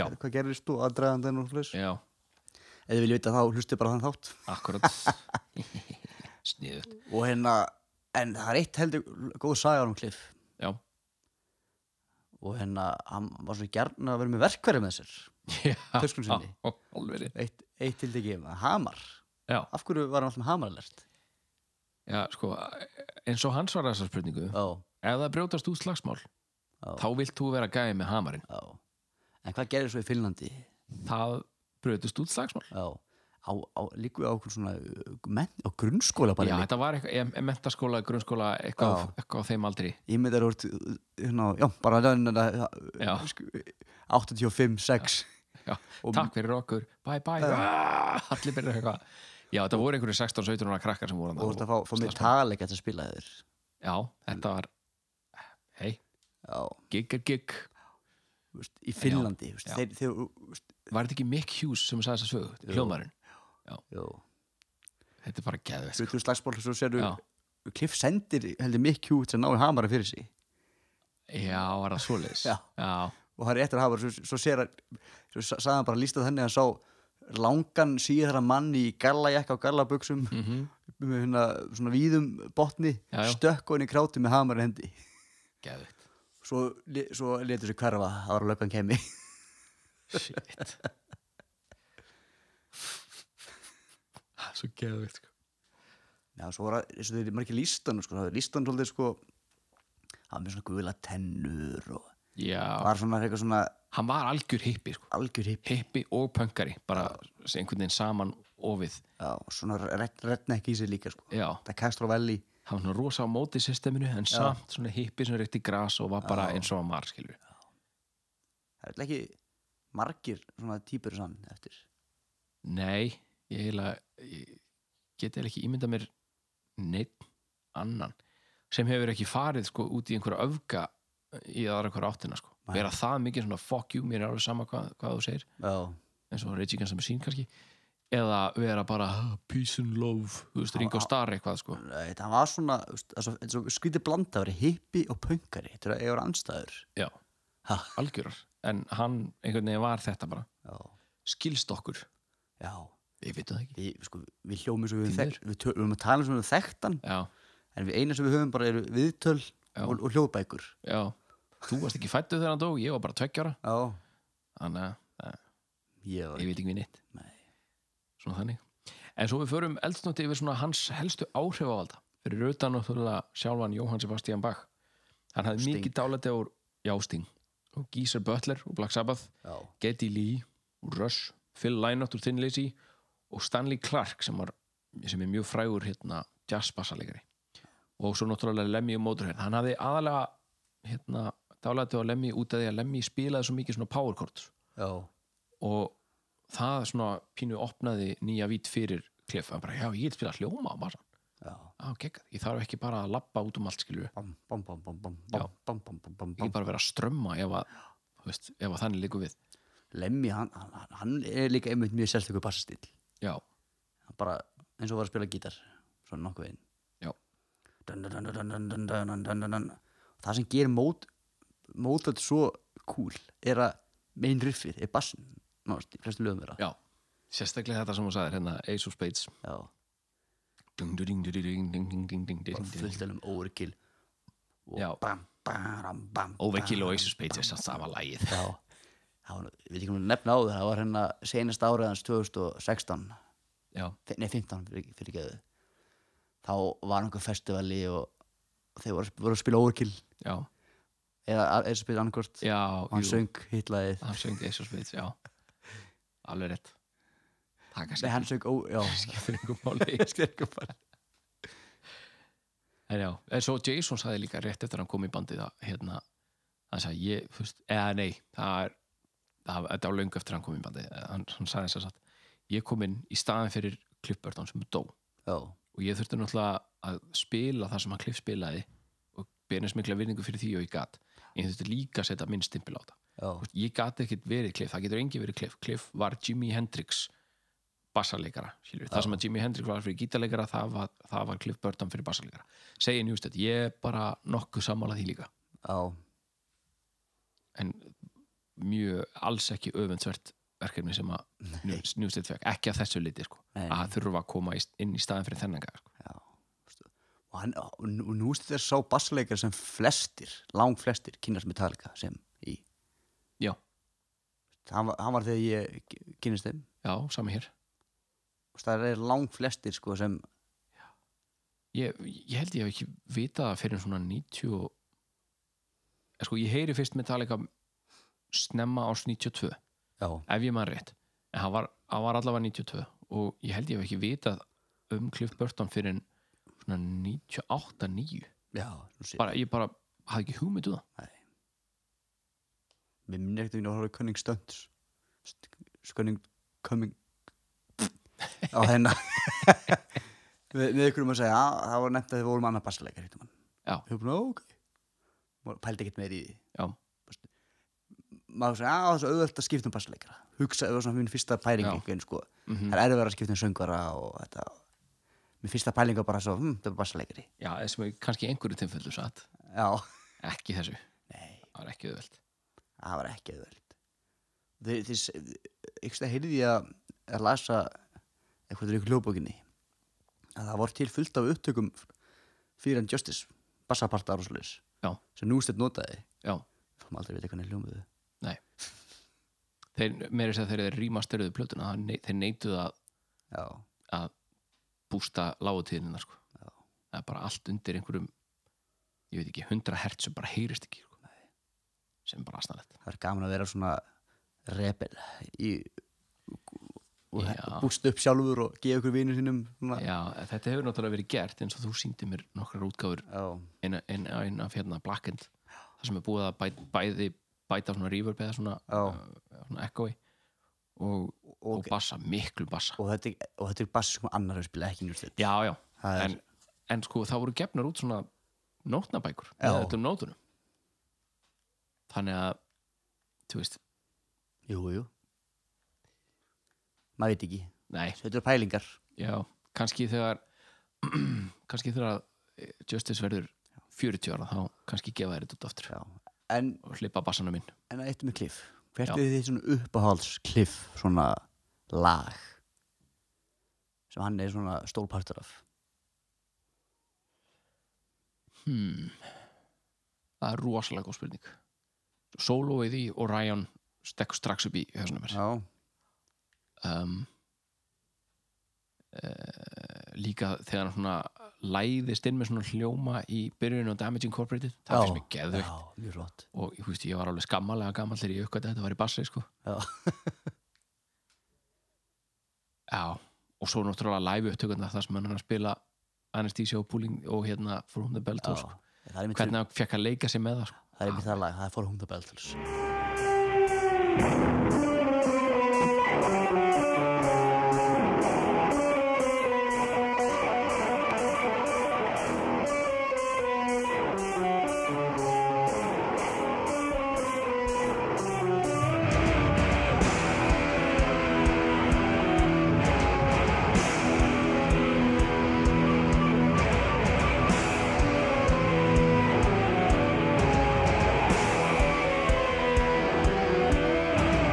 Speaker 5: Já.
Speaker 8: hvað gerist þú aðdraðandan og hlust
Speaker 5: já,
Speaker 8: eða vilja vita þá hlustu bara á þann þátt
Speaker 5: akkurat sniðut
Speaker 8: og hérna, en það er eitt heldur góð saga um kliff
Speaker 5: já,
Speaker 8: og hérna, hann var svo gjarn að vera með verkverði með sér
Speaker 5: já,
Speaker 8: Töskun sinni.
Speaker 5: já, alveg rétt.
Speaker 8: eitt, eitt til degi, hamar
Speaker 5: já,
Speaker 8: af hverju var hann alltaf hamarlert
Speaker 5: já, sko eins og hann svarar þessar spurningu
Speaker 8: já,
Speaker 5: ef það brjótast út slagsmál þá vilt þú vera gæði með hamarinn
Speaker 8: já en hvað gerir svo í Finnlandi
Speaker 5: það brjótast út slagsmál
Speaker 8: já, á, á, líku á okkur svona uh, menn, á grunnskóla bara
Speaker 5: já,
Speaker 8: líka.
Speaker 5: þetta var eitthvað, mentaskóla, grunnskóla eitthvað,
Speaker 8: Já.
Speaker 5: eitthvað á þeim aldri
Speaker 8: ég með þær úr hérna, já, bara hérna,
Speaker 5: já,
Speaker 8: 85, 6
Speaker 5: Ah. já, takk fyrir okkur bye bye, Ah, allir byrjar eitthvað já, þetta voru einhverju 16-17 ára krakkar sem voru
Speaker 8: og þú ert að fá, fá mér
Speaker 5: slagsmál.
Speaker 8: taleg að spila þér
Speaker 5: já, þetta var hei,
Speaker 8: já,
Speaker 5: gig er gig
Speaker 8: þú veist, í Finnlandi þú veist,
Speaker 5: já.
Speaker 8: þeir, þeir, þú veist,
Speaker 5: var þetta ekki Mick Hughes sem sagði þessa sögu, hljómarinn
Speaker 8: já
Speaker 5: þetta er bara geðvegt
Speaker 8: þú veist slagsból, svo sérðu
Speaker 5: Já.
Speaker 8: Cliff sendir heldur mikið út sem náir hamara fyrir sig
Speaker 5: Já, var það svoleiðis
Speaker 8: Já.
Speaker 5: já,
Speaker 8: og það er eftir að hafa, svo, svo sér að svo sa- sagði hann bara lýsta þannig að hann sá langan síðara mann í gallajakka og gallabuxum með hérna, svona víðum botni
Speaker 5: Mhm. Já, já.
Speaker 8: stökk og henni kráti með hamar í hendi
Speaker 5: geðveikt.
Speaker 8: svo, le- svo letur sér hverfa það var að löggan kemi
Speaker 5: Shit Það er svo geðveikt sko.
Speaker 8: já, svo var að, eins og þeir eru margir lístan sko, það var lístan svolítið sko hann með svona gula tennur og
Speaker 5: Já,
Speaker 8: var svona eitthvað svona
Speaker 5: hann var algjör hippi sko.
Speaker 8: algjör hipp
Speaker 5: Hippi og pöngari bara sem einhvern veginn saman ofið
Speaker 8: já, og svona retna ekki í sig líka sko
Speaker 5: Já,
Speaker 8: það er Castro Valley
Speaker 5: hann var svona rosa á móti systeminu en samt svona hippi sem reytti gras og var bara eins og hann var skilur
Speaker 8: það er eiginlega ekki margir svona típur sann eftir
Speaker 5: Nei, ég heila ég geti heila ekki ímyndað mér neitt annan sem hefur ekki farið sko út í einhverja öfga í aðra hverja áttina sko
Speaker 8: Nei.
Speaker 5: vera það mikið svona fuck you, mér er alveg sama hvað, hvað þú segir
Speaker 8: já
Speaker 5: eins og Reggie Guns Machine kannski eða vera bara "Ah, peace and love þú veist, ringa á star eitthvað sko
Speaker 8: Nei, það var svona, þú veist, það er svo- þetta er svo skrítið blanda að vera hippi og pöngari, þetta er að eiga anstæður
Speaker 5: já,
Speaker 8: Ha.
Speaker 5: algjörar en hann einhvern veginn var þetta bara
Speaker 8: já,
Speaker 5: skilst okkur,
Speaker 8: já
Speaker 5: ég veit það ekki
Speaker 8: við, sko, við hljómið sem við
Speaker 5: Því
Speaker 8: höfum þekkt við, töl- við höfum að tala um sem við höfum þekkt hann
Speaker 5: já,
Speaker 8: en við eina sem við höfum bara eru viðtöl
Speaker 5: Já.
Speaker 8: og, og hljóðbækur
Speaker 5: já, þú varst ekki fættu þegar hann dó ég var bara tveggjara,
Speaker 8: já,
Speaker 5: þannig að að-
Speaker 8: ég var
Speaker 5: ég veit ekki við neitt
Speaker 8: Nei.
Speaker 5: svona þannig en svo við förum eldsnótti yfir svona hans helstu áhrifavalda fyrir utan náttúrulega sjálfan Jóhann Sebastian Bach hann hafði
Speaker 8: Sting.
Speaker 5: mikið dálæti á Jásting og Gísar Butler og Black Sabbath
Speaker 8: já,
Speaker 5: Geddy Lee og Rush Phil Lynott úr Thin Lizzy og Stanley Clark sem, var, sem er mjög frægur hérna jazzbassalegari og svo náttúrulega Lemmy og Motorhead hann hafði aðalega hérna, dálæti á Lemmy út af því að Lemmy spilaði svo mikið svona power chords
Speaker 8: já,
Speaker 5: og það svona pínu opnaði nýja vít fyrir Cliff hann bara, já, ég get spila hljóma á bassan
Speaker 8: já
Speaker 5: á, geggjað, ég þarf ekki bara að labba út um allt skilur,
Speaker 8: bam, bam, bam, bam, bam,
Speaker 5: Já.
Speaker 8: bam, bam, bam, bam, bam,
Speaker 5: ég get
Speaker 8: bam.
Speaker 5: bara að vera að strömma ef að, þú veist, ef að þannig liggur við
Speaker 8: Lemmi, hann, hann, hann er líka einmitt mjög sérstökur bassastíl
Speaker 5: já,
Speaker 8: hann bara, eins og var að spila gítar svona nokkuð veginn
Speaker 5: já,
Speaker 8: dun, dun, dun, dun, dun, dun, dun, dun, dun, dun, dun. það sem gerir mót mótat svo cool er að main riffið er bassin nánast í flestu lögum vera
Speaker 5: já sérstaklega þetta sem þú sagðir hérna Ace of Spades
Speaker 8: já,
Speaker 5: Dung, dung, dung, dung, dung, dung, dung, dung,
Speaker 8: bara
Speaker 5: dung, dung.
Speaker 8: fullt ennum overkill og
Speaker 5: Já.
Speaker 8: bam, bam, bam
Speaker 5: Overkill
Speaker 8: bam,
Speaker 5: og Ace of Spades er samt sama lagið
Speaker 8: já, það var, við ekki hún nefna á það það var hérna senast árið hans 2016
Speaker 5: Já,
Speaker 8: Fi- nei 15 fyrir, fyrir geðu þá var einhver festivali og, og þeir voru, voru að spila overkill
Speaker 5: já,
Speaker 8: eða að- eða spila annarkvort
Speaker 5: já
Speaker 8: og hann
Speaker 5: jú,
Speaker 8: söng hitlaðið
Speaker 5: hann söng Ace of Spades, já Alveg rétt Það
Speaker 8: nei
Speaker 5: kannski
Speaker 8: hann söng, ó, já,
Speaker 5: skiptir einhver máli skiptir einhver máli en já, en svo Jason sagði líka rétt eftir að hann kom í bandið að hérna, hann sagði ég, þú veist, eða nei það er, það, þetta var löngu eftir að hann kom í bandið hann, hann sagði þess að satt ég kom inn í staðin fyrir klippbörðan sem dó
Speaker 8: já,
Speaker 5: og ég þurfti náttúrulega að spila það sem hann kliff spilaði og bera eins mikla virðingu fyrir því og ég gat en ég þurfti líka að setja minn stimpil á það
Speaker 8: já
Speaker 5: Þú veist, ég gat ekkert verið Cliff, það getur engi verið Cliff Cliff var Jimi Hendrix bassarleikara, skilur, það sem að Jimi Hendrix var fyrir gítarleikara, það var, það var Cliff Burton fyrir bassarleikara, segi njústætt ég er bara nokkuð sammála því líka
Speaker 8: já,
Speaker 5: en mjög alls ekki öfundsvert verkefni sem að njústætt fekk, ekki að þessu liti sko,
Speaker 8: Nei, nei.
Speaker 5: að þurfa að koma í- inn í staðin fyrir þennan gæða sko.
Speaker 8: já Veistu, og, hann, og nú- og nú stið sá bassleikar sem flestir, lang flestir kynast Metallica sem í
Speaker 5: já,
Speaker 8: hann var, hann var þegar ég kynast þeim
Speaker 5: já, sami hér
Speaker 8: og það er lang flestir sko sem
Speaker 5: Ég, ég held ég hef ekki vitað það fyrir svona 90 og... Eh, sko, ég heyri fyrst Metallica snemma árs 92
Speaker 8: já,
Speaker 5: ef ég maður rétt en hann var, hann var allavega 92 og ég held ég hef ekki vitað um Cliff Burton fyrir en svona 98-9
Speaker 8: já, nú sé
Speaker 5: bara, ég bara hafði ekki hugmynd um það
Speaker 8: Mér minnir ekkert að ég horfði Cunning Stunts St- Cunning Coming á hennar við, við ykkur um að segja "Ah, það var nefnt að þið vorum annað bassleikar hittum hann
Speaker 5: Já.
Speaker 8: Ég var bara, "Ó, ok Maður pældi ekkert meir í því
Speaker 5: já,
Speaker 8: maður sagði að það er svo auðvöld að skipta um bassleikara hugsa, það var svona mín fyrsta pæling
Speaker 5: Já. Mhm.
Speaker 8: einhvern, sko. það er erfið að skipta um söngvara og þetta mín fyrsta pæling var bara svo, hm, það er bassleikari
Speaker 5: já eða sem er kannski í einhverju tilfellu satt
Speaker 8: já,
Speaker 5: ekki þessu,
Speaker 8: nei,
Speaker 5: það var ekki auðvelt
Speaker 8: það var ekki auðvöld þið, þið, þið, þið heyrði ég að, að lasa eitthvað er ykkur hljóðbókinni að það voru til fullt af upptökum fyrir en Justice, bassapartar og slis
Speaker 5: Já.
Speaker 8: sem nústett notaði
Speaker 5: já,
Speaker 8: fórum aldrei að vita hvernig hljómuðu
Speaker 5: nei þeir, meira þess að þeir eru rýmastöruðu plötuna það nei- þeir neituðu að
Speaker 8: já,
Speaker 5: að bústa lágutíðinina sko.
Speaker 8: Já.
Speaker 5: það er bara allt undir einhverjum ég veit ekki, 100 hertz sem bara heyrist ekki sko. sem er bara aðstæðanlegt
Speaker 8: það er gaman að vera svona rebel í og
Speaker 5: Já.
Speaker 8: búst upp sjálfur og gefa ykkur vinur sínum svona.
Speaker 5: Já, þetta hefur náttúrulega verið gert eins og þú síndi mér nokkrar útgáfur
Speaker 8: Já,
Speaker 5: eina, eina, eina af hérna Black End það sem er búið að bæ, bæði bæta svona reverb eða svona,
Speaker 8: Já.
Speaker 5: uh, svona echoi og, og
Speaker 8: ok.
Speaker 5: bassa, miklu bassa
Speaker 8: og, þetta, er- og þetta er bassi sem annar hefur spilað ekki njúrstætt
Speaker 5: Já, já,
Speaker 8: Það er-
Speaker 5: en, en sko það voru gefnar út svona nótnabækur
Speaker 8: Já.
Speaker 5: með öllum nótunum þannig að þú veist,
Speaker 8: Jú, jú maður veit ekki
Speaker 5: nei,
Speaker 8: þetta eru pælingar
Speaker 5: Já, kannski þegar kannski þegar eh, Justice verður 40 ára þá kannski gefa þér þetta út aftur
Speaker 8: Já. en,
Speaker 5: og hlippa bassanum inn
Speaker 8: en eitt með kliff hvert
Speaker 5: Já.
Speaker 8: er þitt svona uppáhalds kliff svona lag sem hann er svona stólpartur af
Speaker 5: hmm. Það er rosalega góð spurning Soloið í og Ryan stekkur strax upp í hjósunum mér
Speaker 8: Já,
Speaker 5: um, uh, Líka þegar hann svona læðist inn með svona hljóma í byrjun á Damage Incorporated það finnst mér geðveikt
Speaker 8: Já, mjög flott
Speaker 5: og ég, veist, ég var alveg skammalega gammal þegar ég aukvæði þetta var í bassi sko.
Speaker 8: Já.
Speaker 5: Já, og svo náttúrulega live upptökuna þar sem hann er að spila Anesthesia og Pooling og hérna From the Bell Tour
Speaker 8: Já.
Speaker 5: sko.
Speaker 8: það er mitt
Speaker 5: hvernig hann fekk að leika sér með það sko.
Speaker 8: það, er einmitt það lag, það er For Whom the Bell Tolls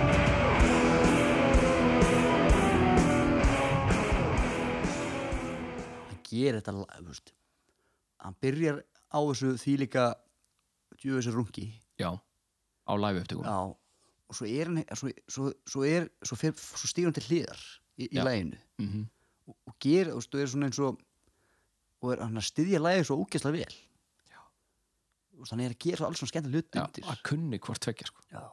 Speaker 1: Thank
Speaker 8: er þetta la- þú veist, hann byrjar á þessu því líka þessu rungi
Speaker 5: já, á live upptökum
Speaker 8: Já, og svo er hann svo, svo, svo, er, svo, fer, svo stígur hann til hliðar í, í
Speaker 5: Já.
Speaker 8: læginu
Speaker 5: Mhm.
Speaker 8: og, og gerir, þú veist, og er svona eins og og er hann að styðja lægið svo ógeðslega vel Já og þannig er að gera svo alls svona skemmtilega hlut
Speaker 5: Já,
Speaker 8: undir
Speaker 5: að kunni hvort tvekja sko.
Speaker 8: Já.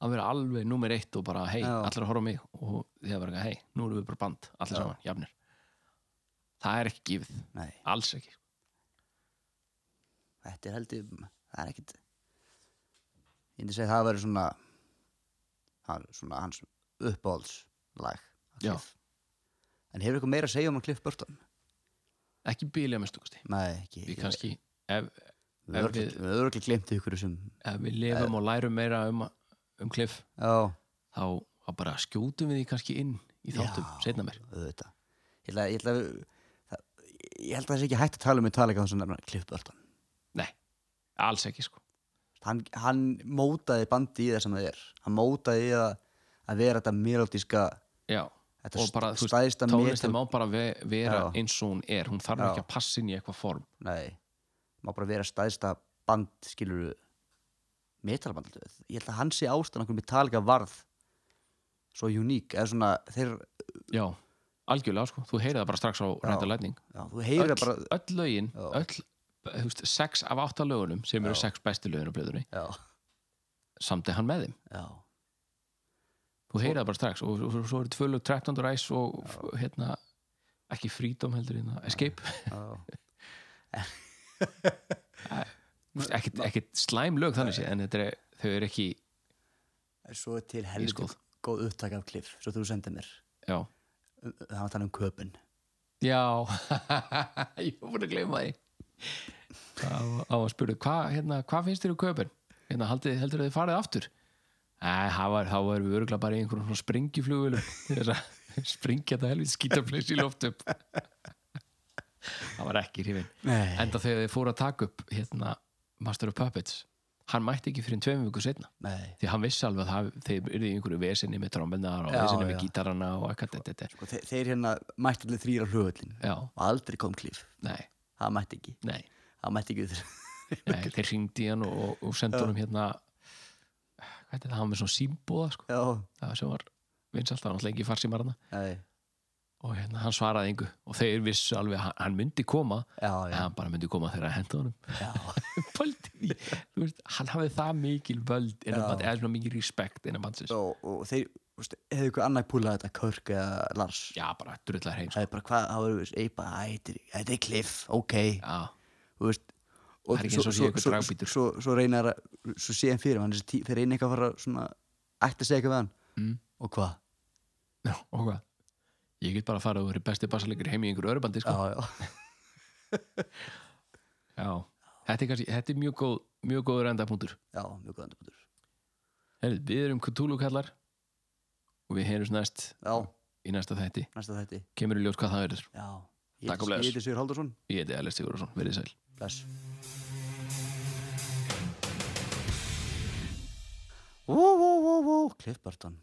Speaker 5: að vera alveg númer eitt og bara hei,
Speaker 8: Já.
Speaker 5: allir að horfa á mig og því að vera eitthvað hei, nú erum við bara band, allir saman, jafnir það er ekki gefið,
Speaker 8: Nei,
Speaker 5: alls ekki
Speaker 8: þetta er heldur það er ekkit ég myndi segja að það verið svona hann, svona hans uppáhaldslag af
Speaker 5: Já.
Speaker 8: Cliff. en hefur eitthvað meira að segja um hann Cliff Burton?
Speaker 5: ekki bílja með stúkusti
Speaker 8: Nei, ekki
Speaker 5: við kannski, ef,
Speaker 8: við
Speaker 5: ef við-
Speaker 8: höfum örglega glemt ykkur sem
Speaker 5: ef við lifum og lærum meira um, um kliff
Speaker 8: já,
Speaker 5: þá þá bara skjótum við því kannski inn í þáttum, setna mér
Speaker 8: auðvitað ég held að, ég held að, við- það, ég held að það sé ekki hægt að tala um í talega þannig sem nefna Cliff Burton
Speaker 5: nei, alls ekki sko
Speaker 8: hann, hann mótaði bandi í það sem það er hann mótaði í það að vera þetta melodíska
Speaker 5: já,
Speaker 8: Þetta
Speaker 5: og bara,
Speaker 8: st-
Speaker 5: þú veist,
Speaker 8: stæðsta
Speaker 5: tónlistin má
Speaker 8: metod-
Speaker 5: bara ve vera
Speaker 8: Já.
Speaker 5: eins og hún er, hún þarf
Speaker 8: Já.
Speaker 5: ekki að passa inn í eitthvað form
Speaker 8: nei, má bara vera stæðsta band skilur metalband, ég held að hann sé ástæðan okkur metalika varð svo uník, eða svona þeir,
Speaker 5: já, algjörlega sko, þú heyrið það bara strax á ræta lætning
Speaker 8: já, þú heyrir
Speaker 5: öll,
Speaker 8: það bara
Speaker 5: öll lögin,
Speaker 8: Já.
Speaker 5: öll þú veist, sex af átta lögunum sem eru sex bestu lögin á blöðunni,
Speaker 8: já,
Speaker 5: samt er hann með þeim
Speaker 8: já,
Speaker 5: þú heyrið það bara strax og, og, og svo eru tvö lög 13. ræs og f- hérna ekki freedom heldur hérna, escape
Speaker 8: já.
Speaker 5: Þú veist, ekkit, ekkit slæm lög þannig sé en þetta er, þau eru ekki
Speaker 8: En svo er til helviti
Speaker 5: skoð.
Speaker 8: góð upptak af Cliff, svo þú sendið mér
Speaker 5: já,
Speaker 8: það var þannig um köpun
Speaker 5: já ég var búin að gleyma því á, á að spura hvað hérna, hva finnst þér um kaupin hérna, haldið, heldur þið farið aftur Æ, það var, þá erum við örgulega bara í einhverjum svona springjuflugvélum til þess að springja þetta helvið skítaflis í loft upp það var ekki hrifin
Speaker 8: Nei.
Speaker 5: enda þegar þið fóru að taka upp hérna, Master of Puppets hann mætti ekki fyrir en tveim viku setna
Speaker 8: Nei.
Speaker 5: því hann vissi alveg að það- þeir yrði í einhverju vesinni með trombelnar og
Speaker 8: Já,
Speaker 5: vesinni
Speaker 8: já.
Speaker 5: með gítarana og eitthvað þetta, þetta.
Speaker 8: og þeir, þeir hérna mætti allir þrýra hlugvöldin
Speaker 5: Já,
Speaker 8: og aldrei kom klíf,
Speaker 5: nei,
Speaker 8: það mætti ekki
Speaker 5: nei,
Speaker 8: það mætti ekki þér
Speaker 5: nei þeir hringdi í hann og, og, og sendi honum hérna hvað er þetta, hann var með svona símbóða sko,
Speaker 8: já,
Speaker 5: það sem var vinsalt, það var náttúrulega ekki farsímar hana
Speaker 8: nei,
Speaker 5: og hérna, hann svaraði engu og þeir vissu alveg að hann, hann myndi koma
Speaker 8: já,
Speaker 5: en
Speaker 8: já,
Speaker 5: hann bara myndi koma þegar að henda honum
Speaker 8: já.
Speaker 5: völd í því, þú veist, hann hafði það mikil völd innan
Speaker 8: Já.
Speaker 5: band, eða svona mikil respekt innan bandsins,
Speaker 8: Og, og þeir, þú veist, hefðu ykkur annað púlað þetta Körk eða Lars
Speaker 5: já, bara drullar heim sko.
Speaker 8: það er bara hvað, þá erum við eipa þetta er klíf, ok
Speaker 5: já,
Speaker 8: þú veist og
Speaker 5: Það er ekki eins og sé einhver
Speaker 8: svo,
Speaker 5: dragbítur.
Speaker 8: svo, svo reyna þeir að svo sé hann fyrir, hann er þessi tí- þeir reyna eitthvað að fara svona, ætti að segja eitthvað við hann
Speaker 5: Mm.
Speaker 8: og hvað,
Speaker 5: Já, og hvað? Ég get bara að fara og verið besti bassalegur heim í einhverju örubandi,
Speaker 8: já,
Speaker 5: sko.
Speaker 8: já
Speaker 5: Já. Þetta er, kannski, þetta er mjög, góð, mjög góður endapunktur.
Speaker 8: já, mjög góðan bútur
Speaker 5: Herrið, við erum Cthulhu kallar og við heyrjumst næst
Speaker 8: já,
Speaker 5: í næsta þætti.
Speaker 8: næsta þetta
Speaker 5: Kemur í ljós hvað það er.
Speaker 8: já, ég
Speaker 5: Takk og
Speaker 8: heiti-
Speaker 5: bless.
Speaker 8: ég heiti Sigur Haldursson
Speaker 5: Ég heiti Alex Sigurðarsson. Verið sæl.
Speaker 8: Bless. Woo, woo, woo, woo, Cliff Burton.